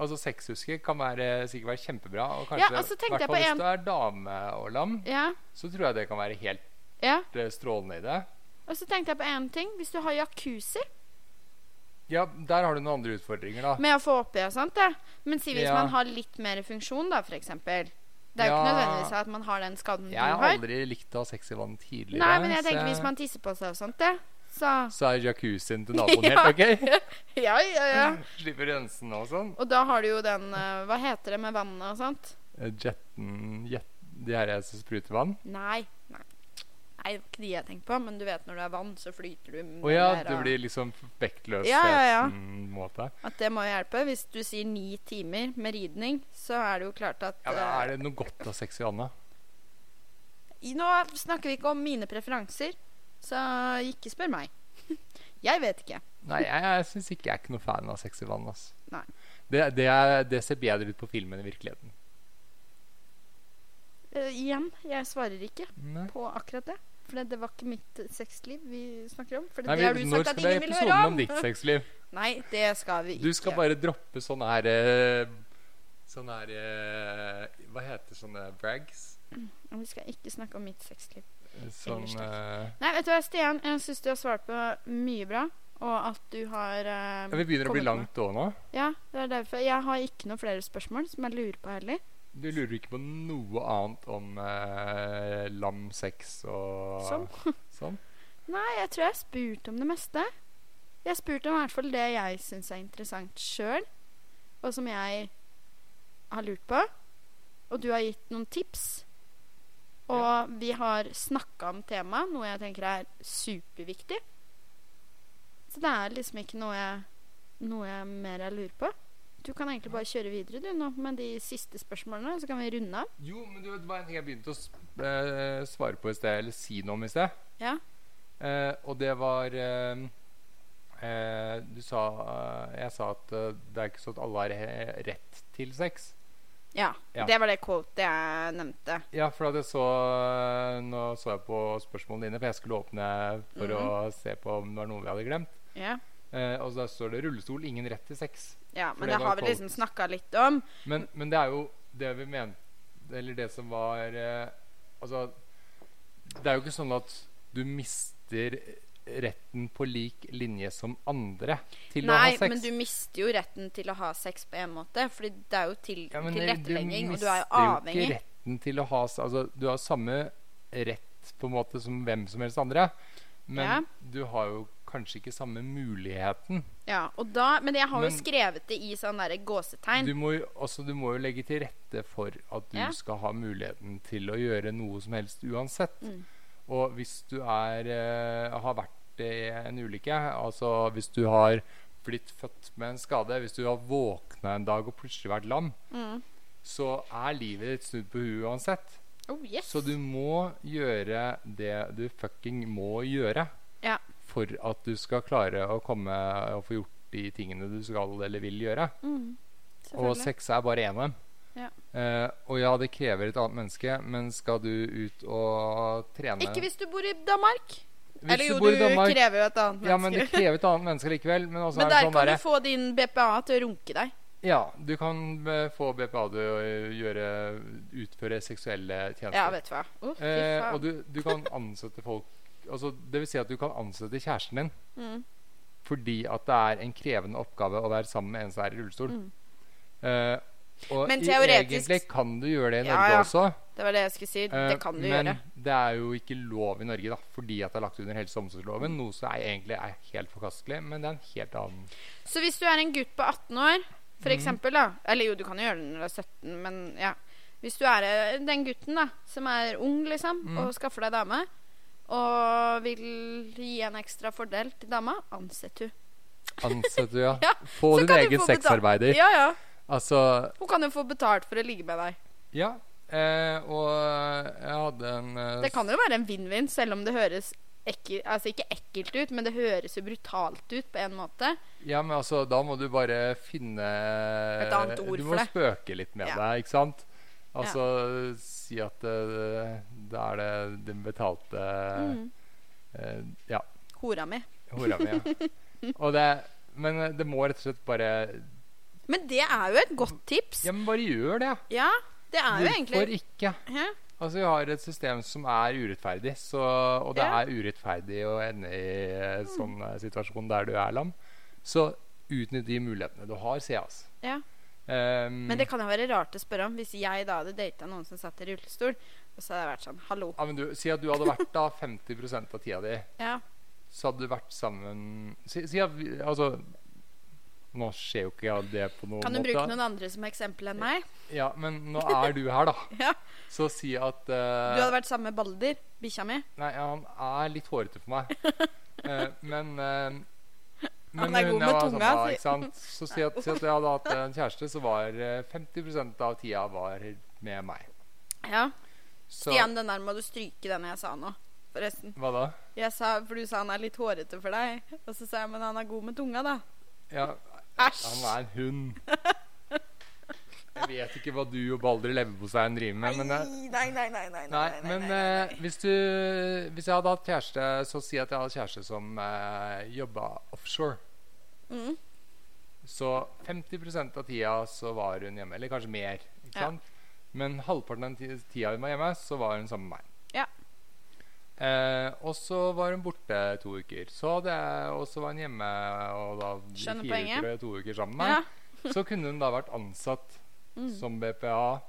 S1: Altså Sexhuske kan være, sikkert være kjempebra. Og
S2: Ja,
S1: kanskje,
S2: og så tenkte jeg
S1: hvertfall
S2: på en-
S1: hvis du er dame og lam,
S2: ja.
S1: så tror jeg det kan være helt
S2: ja.
S1: eh, strålende i det.
S2: Og så tenkte jeg på én ting. Hvis du har jacuzzi
S1: Ja, der har du noen andre utfordringer, da.
S2: med å få oppi og sånt, da. Men si hvis
S1: Ja.
S2: man har litt mer funksjon, da, for eksempel. Det er jo
S1: Ja.
S2: ikke nødvendigvis at man har den skaden
S1: Jeg
S2: du
S1: har
S2: har.
S1: aldri likt å ha sex i vann tidligere.
S2: Nei, men jeg
S1: så
S2: tenker hvis man tisser på seg og sånt, det. Så
S1: så er jacuzzien til naboen
S2: Ja.
S1: helt ok?
S2: Ja, ja, ja.
S1: Slipper rensen og sånn.
S2: Mm. Og da har du jo den eh, Hva heter det med vannet og sånt?
S1: Eh, Jetten jet, De her som spruter vann?
S2: Nei. Nei, Nei, det var ikke de jeg tenkte på, men du vet når det er vann, så flyter du med
S1: Å ja,
S2: der,
S1: det
S2: og-
S1: blir liksom
S2: Ja, ja, ja.
S1: vektløsheten-måte.
S2: At det må hjelpe. Hvis du sier ni timer med ridning, så er det jo klart at
S1: Ja, men
S2: eh,
S1: Er det noe godt av sex i vannet?
S2: I- Nå snakker vi ikke om mine preferanser, så ikke spør meg. jeg vet ikke.
S1: Nei, jeg, jeg syns ikke jeg er ikke noe fan av sexy vann. ass.
S2: Nei.
S1: Det, det, er, det ser bedre ut på film enn i virkeligheten.
S2: Eh, igjen, jeg svarer ikke
S1: Nei.
S2: på akkurat det. For det- det var ikke mitt sexliv vi snakker om. For det,
S1: Nei,
S2: det har
S1: vi-
S2: du
S1: når
S2: sagt at
S1: skal det
S2: ingen
S1: være
S2: vil
S1: episoden
S2: høre
S1: om
S2: om.
S1: ditt sexliv?
S2: Nei, det skal vi ikke.
S1: Du skal bare droppe sånne her eh, Sånne her eh, Hva heter sånne brags?
S2: Vi skal ikke snakke om mitt sexliv.
S1: Sånn
S2: Ellers
S1: eh,
S2: Nei, vet du hva, Stian, jeg syns du har svart på mye bra. Og at du har eh,
S1: ja, Vi begynner å bli
S2: kommet med-
S1: langt òg nå.
S2: Ja, det er derfor. Jeg har ikke noen flere spørsmål som jeg lurer på heller.
S1: Du lurer ikke på noe annet om eh, lam sex og
S2: Sånn.
S1: sånn?
S2: Nei, jeg tror jeg har spurt om det meste. Jeg har spurt om i hvert fall det jeg syns er interessant sjøl, og som jeg har lurt på. Og du har gitt noen tips. Og vi har snakka om temaet, noe jeg tenker er superviktig. Så det er liksom ikke noe jeg, noe jeg mer jeg lurer på. Du kan egentlig bare kjøre videre du nå med de siste spørsmålene, så kan vi runde av.
S1: Jo, men du vet, det var en ting jeg begynte å s- eh, svare på i sted, eller si noe om i sted.
S2: Ja.
S1: Eh, og det var eh, eh, Du sa eh, Jeg sa at eh, det er ikke sånn at alle har he- rett til sex.
S2: Ja.
S1: Ja.
S2: Det var det quotet jeg nevnte.
S1: Ja, for at jeg så eh, Nå så jeg på spørsmålene dine, for jeg skulle åpne for å se på om det var noe vi hadde glemt.
S2: Ja.
S1: Eh, og der står det 'rullestol, ingen rett til sex'.
S2: Ja,
S1: For
S2: men
S1: det
S2: det
S1: var
S2: har vi
S1: quote.
S2: liksom snakka litt om.
S1: Men, men det er jo det vi mente Eller det som var eh, Altså, det er jo ikke sånn at du mister retten på lik linje som andre til å ha
S2: Nei,
S1: sex.
S2: men du mister jo retten til å ha sex på en måte. Fordi det er jo til,
S1: Ja, men
S2: tilrettelegging, og du er jo
S1: Du mister jo
S2: avhengig.
S1: ikke retten til å ha s- Altså, du har samme rett på en måte som hvem som helst andre, men
S2: Ja.
S1: du har jo kanskje ikke samme muligheten.
S2: Ja, og da, men jeg har
S1: Men-
S2: jo skrevet det i sånn derre gåsetegn.
S1: Du må, jo, altså, du må jo legge til rette for at du
S2: Ja.
S1: skal ha muligheten til å gjøre noe som helst uansett.
S2: Mm.
S1: Og hvis du er, eh, har vært i en ulykke, altså hvis du har blitt født med en skade, hvis du har våkna en dag og plutselig vært lam,
S2: Mm.
S1: så er livet ditt snudd på huet uansett.
S2: Oh, yes.
S1: Så du må gjøre det du fucking må gjøre
S2: Ja.
S1: for at du skal klare å komme og få gjort de tingene du skal eller vil gjøre.
S2: Mm.
S1: Og
S2: Selvfølgelig.
S1: sex er bare én av dem.
S2: Ja.
S1: Eh, og ja, det krever et annet menneske, men skal du ut og trene
S2: Ikke hvis du bor i Danmark.
S1: Hvis
S2: Eller jo,
S1: bor i
S2: du
S1: Danmark-
S2: krever jo et annet
S1: Ja, men det
S2: menneske.
S1: krever et annet menneske likevel. Men, også
S2: Men
S1: er det
S2: der
S1: sånn
S2: kan
S1: derre
S2: du få din BPA til å runke deg.
S1: Ja, du kan eh, få BPA til å eh, gjøre Utføre seksuelle
S2: Ja,
S1: tjenester.
S2: vet du hva. Å, fy
S1: eh, og
S2: faen.
S1: du, du kan ansette folk Altså, det vil si at du kan ansette kjæresten din
S2: Mm.
S1: fordi at det er en krevende oppgave å være sammen med en som er i rullestol.
S2: Mm.
S1: Eh, og
S2: Men
S1: i-
S2: teoretisk-
S1: egentlig kan du gjøre det i
S2: Ja,
S1: Norge
S2: ja.
S1: også.
S2: Det var det jeg skulle si.
S1: Eh,
S2: Det kan du
S1: men
S2: gjøre.
S1: det er jo ikke lov i Norge da, fordi at det er lagt under helse- og omsorgsloven, noe som er, egentlig er helt forkastelig, men det er en helt annen
S2: Så hvis du er en gutt på 18 år, for
S1: Mhm.
S2: eksempel, da Eller jo, du kan jo gjøre det når du er 17, men ja. Hvis du er eh, den gutten da som er ung, liksom,
S1: Mhm.
S2: og skaffer deg dame, og vil gi en ekstra fordel til dama, ansett hun.
S1: ansett, ja.
S2: Ja,
S1: Få
S2: så
S1: din
S2: kan du
S1: egen
S2: få betalt.
S1: sexarbeider.
S2: Ja, ja.
S1: Altså,
S2: Hun kan jo få betalt for å ligge med deg.
S1: ja. Eh, og jeg hadde en eh,
S2: Det kan jo være en vinn-vinn, selv om det høres ekkel, altså ikke ekkelt ut, men det høres jo brutalt ut på en måte.
S1: Ja, men altså, da må du bare finne
S2: Et annet ord
S1: Du
S2: for
S1: må
S2: det.
S1: spøke litt med
S2: Ja.
S1: det, ikke sant? Altså si at eh, det er det den betalte
S2: Mhm.
S1: eh, Ja,
S2: Hora mi.
S1: hora mi. Ja. og det Men eh, det må rett og slett bare
S2: Men det er jo et godt tips.
S1: Ja, men bare gjør det.
S2: Ja, det er jo egentlig
S1: Hvorfor ikke?
S2: Hæ?
S1: Altså, vi har et system som er urettferdig, så, og det
S2: Ja.
S1: er urettferdig å ende i eh, sånn eh, situasjon der du er lam. Så utnytt de mulighetene du har, sier jeg, altså.
S2: Ja.
S1: Ehm,
S2: Men det kan jo være rart å spørre om hvis jeg da hadde data noen som satt i rullestol, og så hadde jeg vært sånn Hallo.
S1: ja, men du, si at du hadde vært da 50 av tida di,
S2: Ja.
S1: så hadde du vært sammen Si, si at vi, Altså Nå skjer jo ikke det på noen
S2: Kan du
S1: måte.
S2: bruke noen andre som eksempel enn meg?
S1: Ja, men nå er du her, da.
S2: Ja.
S1: Så si at
S2: Du
S1: eh,
S2: hadde vært sammen med Balder, bikkja mi.
S1: Nei, han er litt hårete for meg. Eh, men eh,
S2: Han er
S1: hun
S2: god
S1: jeg
S2: med
S1: var
S2: tunga,
S1: sammen med,
S2: sier-
S1: ikke sant? Så si at, si at jeg hadde hatt en kjæreste, så var eh, 50 av tida var med meg.
S2: Ja.
S1: Så,
S2: Stian, den der må du stryke, den jeg sa nå. forresten.
S1: Hva da?
S2: Jeg sa, for du sa han er litt hårete for deg. Og så sa jeg, men han er god med tunga, da.
S1: Ja, han
S2: Æsj!
S1: er en hund. Jeg vet ikke hva du og Balder Leverpostein driver med, men det,
S2: nei, nei, nei, nei, nei,
S1: Nei, men eh, hvis du Hvis jeg hadde hatt kjæreste, så si at jeg hadde kjæreste som eh, jobba offshore.
S2: Mm.
S1: Så 50 av tida så var hun hjemme. Eller kanskje mer. ikke
S2: Ja.
S1: sant? Men halvparten av den ti- tida hun var hjemme, så var hun sammen med meg.
S2: Ja.
S1: Eh, og så var hun borte to uker. Så hadde jeg, og så var hun hjemme og da i
S2: Skjønner
S1: fire
S2: poenget.
S1: uker og to uker sammen med
S2: Ja.
S1: meg. Så kunne hun da vært ansatt
S2: Mm.
S1: som BPA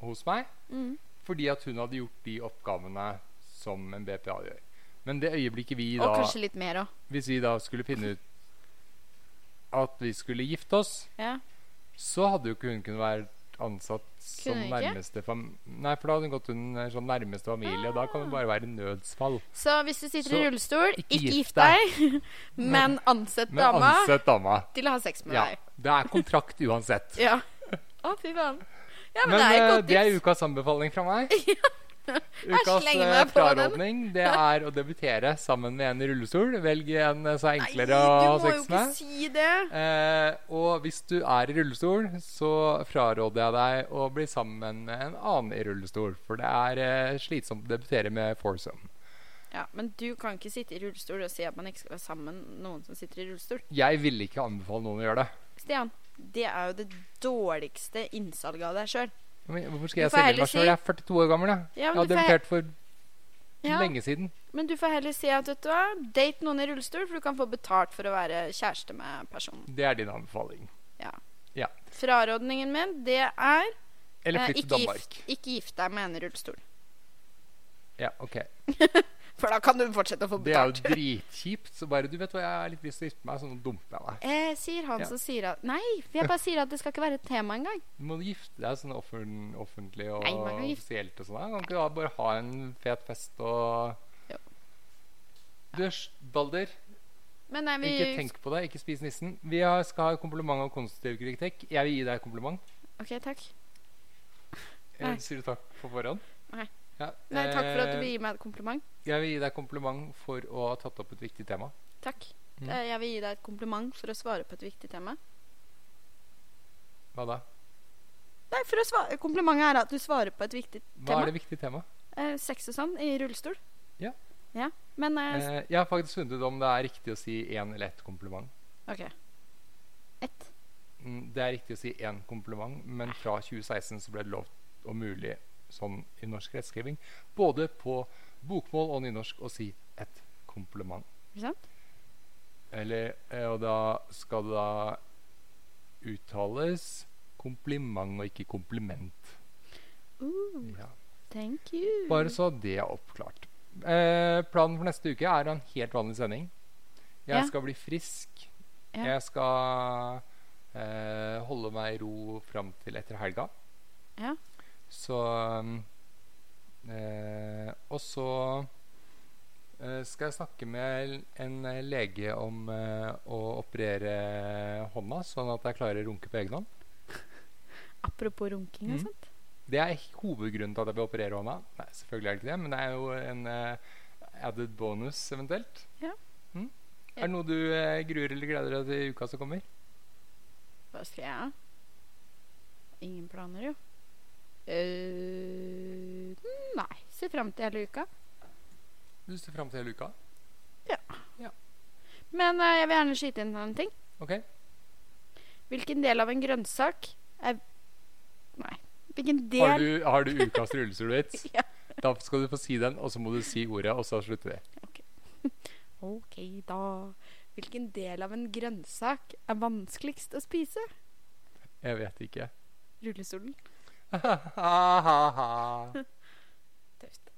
S1: hos meg.
S2: Mm.
S1: Fordi at hun hadde gjort de oppgavene som en BPA gjør. Men det øyeblikket vi
S2: Og
S1: da
S2: kanskje litt mer òg.
S1: Hvis vi da skulle finne ut at vi skulle gifte oss,
S2: Ja.
S1: så hadde jo ikke hun kunnet være ansatt som
S2: Kunne hun ikke?
S1: nærmeste fam... Nei, for da hadde hun gått under sånn nærmeste familie, og da
S2: Ah.
S1: kan hun bare være nødsfall.
S2: Så hvis du sitter i
S1: Så,
S2: rullestol,
S1: ikke
S2: ikke gift
S1: gift
S2: deg, men ansett
S1: Men
S2: dama
S1: ansett dama.
S2: til å ha sex med
S1: Ja.
S2: deg.
S1: Det er kontrakt uansett.
S2: Ja. Å, fy faen. Ja, men,
S1: Men
S2: det er et
S1: eh,
S2: godt
S1: det er
S2: tips.
S1: ukas anbefaling fra meg. Ukas
S2: slenger
S1: eh,
S2: meg på den.
S1: frarådning det er å debutere sammen med en i rullestol. Velg en eh, som er enklere å
S2: Nei,
S1: ha
S2: du må jo
S1: sex
S2: ikke
S1: med.
S2: si det.
S1: Eh, og hvis du er i rullestol, så fraråder jeg deg å bli sammen med en annen i rullestol. For det er eh, slitsomt å debutere med foursome.
S2: Ja, Men du kan ikke sitte i rullestol og si at man ikke skal være sammen med noen som sitter i rullestol.
S1: Jeg ville ikke anbefale noen å gjøre det.
S2: Stian, det er jo det dårligste innsalget av deg sjøl.
S1: Men Hvorfor skal jeg
S2: Du får
S1: selge
S2: heller
S1: meg
S2: si-
S1: sjøl? Jeg er 42 år gammel. Jeg,
S2: Ja,
S1: jeg har
S2: men du får he-
S1: debutert for
S2: ja,
S1: lenge siden.
S2: men du får heller si at vet du hva, date noen i rullestol, for du kan få betalt for å være kjæreste med personen.
S1: Det er din anbefaling.
S2: Frarådningen min, det er
S1: Eller
S2: eh,
S1: flytt til
S2: ikke,
S1: Danmark.
S2: gift, ikke gift deg med en i rullestol.
S1: Ja, ok.
S2: For da kan du fortsette å få
S1: Det er jo
S2: betalt.
S1: dritkjipt. Så bare du vet hva, jeg har litt lyst til å gifte meg, så nå dumper jeg deg.
S2: Eh, sier han
S1: Ja.
S2: som sier at Nei, jeg bare sier at det skal ikke være et tema engang.
S1: Du må gifte deg sånn offern- offentlig og
S2: Nei, man kan gifte-
S1: offisielt og sånn. da. Kan ikke du da bare ha en fet fest og
S2: Jo.
S1: Du, s- Balder,
S2: Men nei, vi
S1: ikke tenk på det. Ikke spis nissen. Vi har, skal ha kompliment og konstruktiv kritikk. Jeg vil gi deg kompliment.
S2: OK, takk.
S1: Eh,
S2: Nei.
S1: Sier du takk på forhånd?
S2: Nei.
S1: Ja,
S2: Nei, takk for at
S1: eh,
S2: du vil gi meg et kompliment.
S1: Jeg vil gi deg kompliment for å ha tatt opp et viktig tema.
S2: Takk.
S1: Mm.
S2: Eh, Jeg vil gi deg et kompliment for å svare på et viktig tema.
S1: Hva da?
S2: Nei, for å svare, Komplimentet er at du svarer på et viktig
S1: Hva
S2: Tema?
S1: er det viktige temaet?
S2: eh, sex og sånn i rullestol.
S1: Ja.
S2: Ja, Men eh,
S1: Eh, jeg har faktisk funnet ut om det er riktig å si én eller ett kompliment.
S2: OK. Ett.
S1: Mm, Det er riktig å si én kompliment, men fra 2016 så ble det lov og mulig sånn i norsk rettskriving, både på bokmål og nynorsk, å si et kompliment.
S2: Ikke sant?
S1: Eller, eh, og da skal det da uttales kompliment og ikke kompliment.
S2: Uh,
S1: Ja.
S2: thank you.
S1: Mm. Bare så det er oppklart. Eh, planen for neste uke er en helt vanlig sending. Jeg
S2: Ja.
S1: skal bli frisk.
S2: Ja.
S1: Jeg skal eh, holde meg i ro fram til etter helga.
S2: Ja.
S1: Så um, eh, Og så eh, skal jeg snakke med en lege om eh, å operere hånda, sånn at jeg klarer å runke på egen hånd.
S2: Apropos runking og
S1: Mm.
S2: sånn. sånt.
S1: Det er ikke hovedgrunnen til at jeg vil operere hånda. Nei, selvfølgelig er det ikke det, men det er jo en eh, added bonus eventuelt.
S2: Ja.
S1: Mm. Er det noe du eh, gruer eller gleder deg til i uka som kommer?
S2: Hva skal jeg ha? Ingen planer, jo. Eh, nei. Ser fram til hele uka.
S1: Du ser fram til hele uka?
S2: Men eh, jeg vil gjerne skyte inn en ting.
S1: Ok.
S2: Hvilken del av en grønnsak er Nei. Hvilken
S1: Har
S2: del
S1: du, har du ukas rullestolvits?
S2: Ja.
S1: Da skal du få si den, og så må du si ordet, og så slutter vi.
S2: OK, da. Hvilken del av en grønnsak er vanskeligst å spise?
S1: Jeg vet ikke.
S2: Rullestolen.
S1: Ha-ha-ha.
S2: Tøft.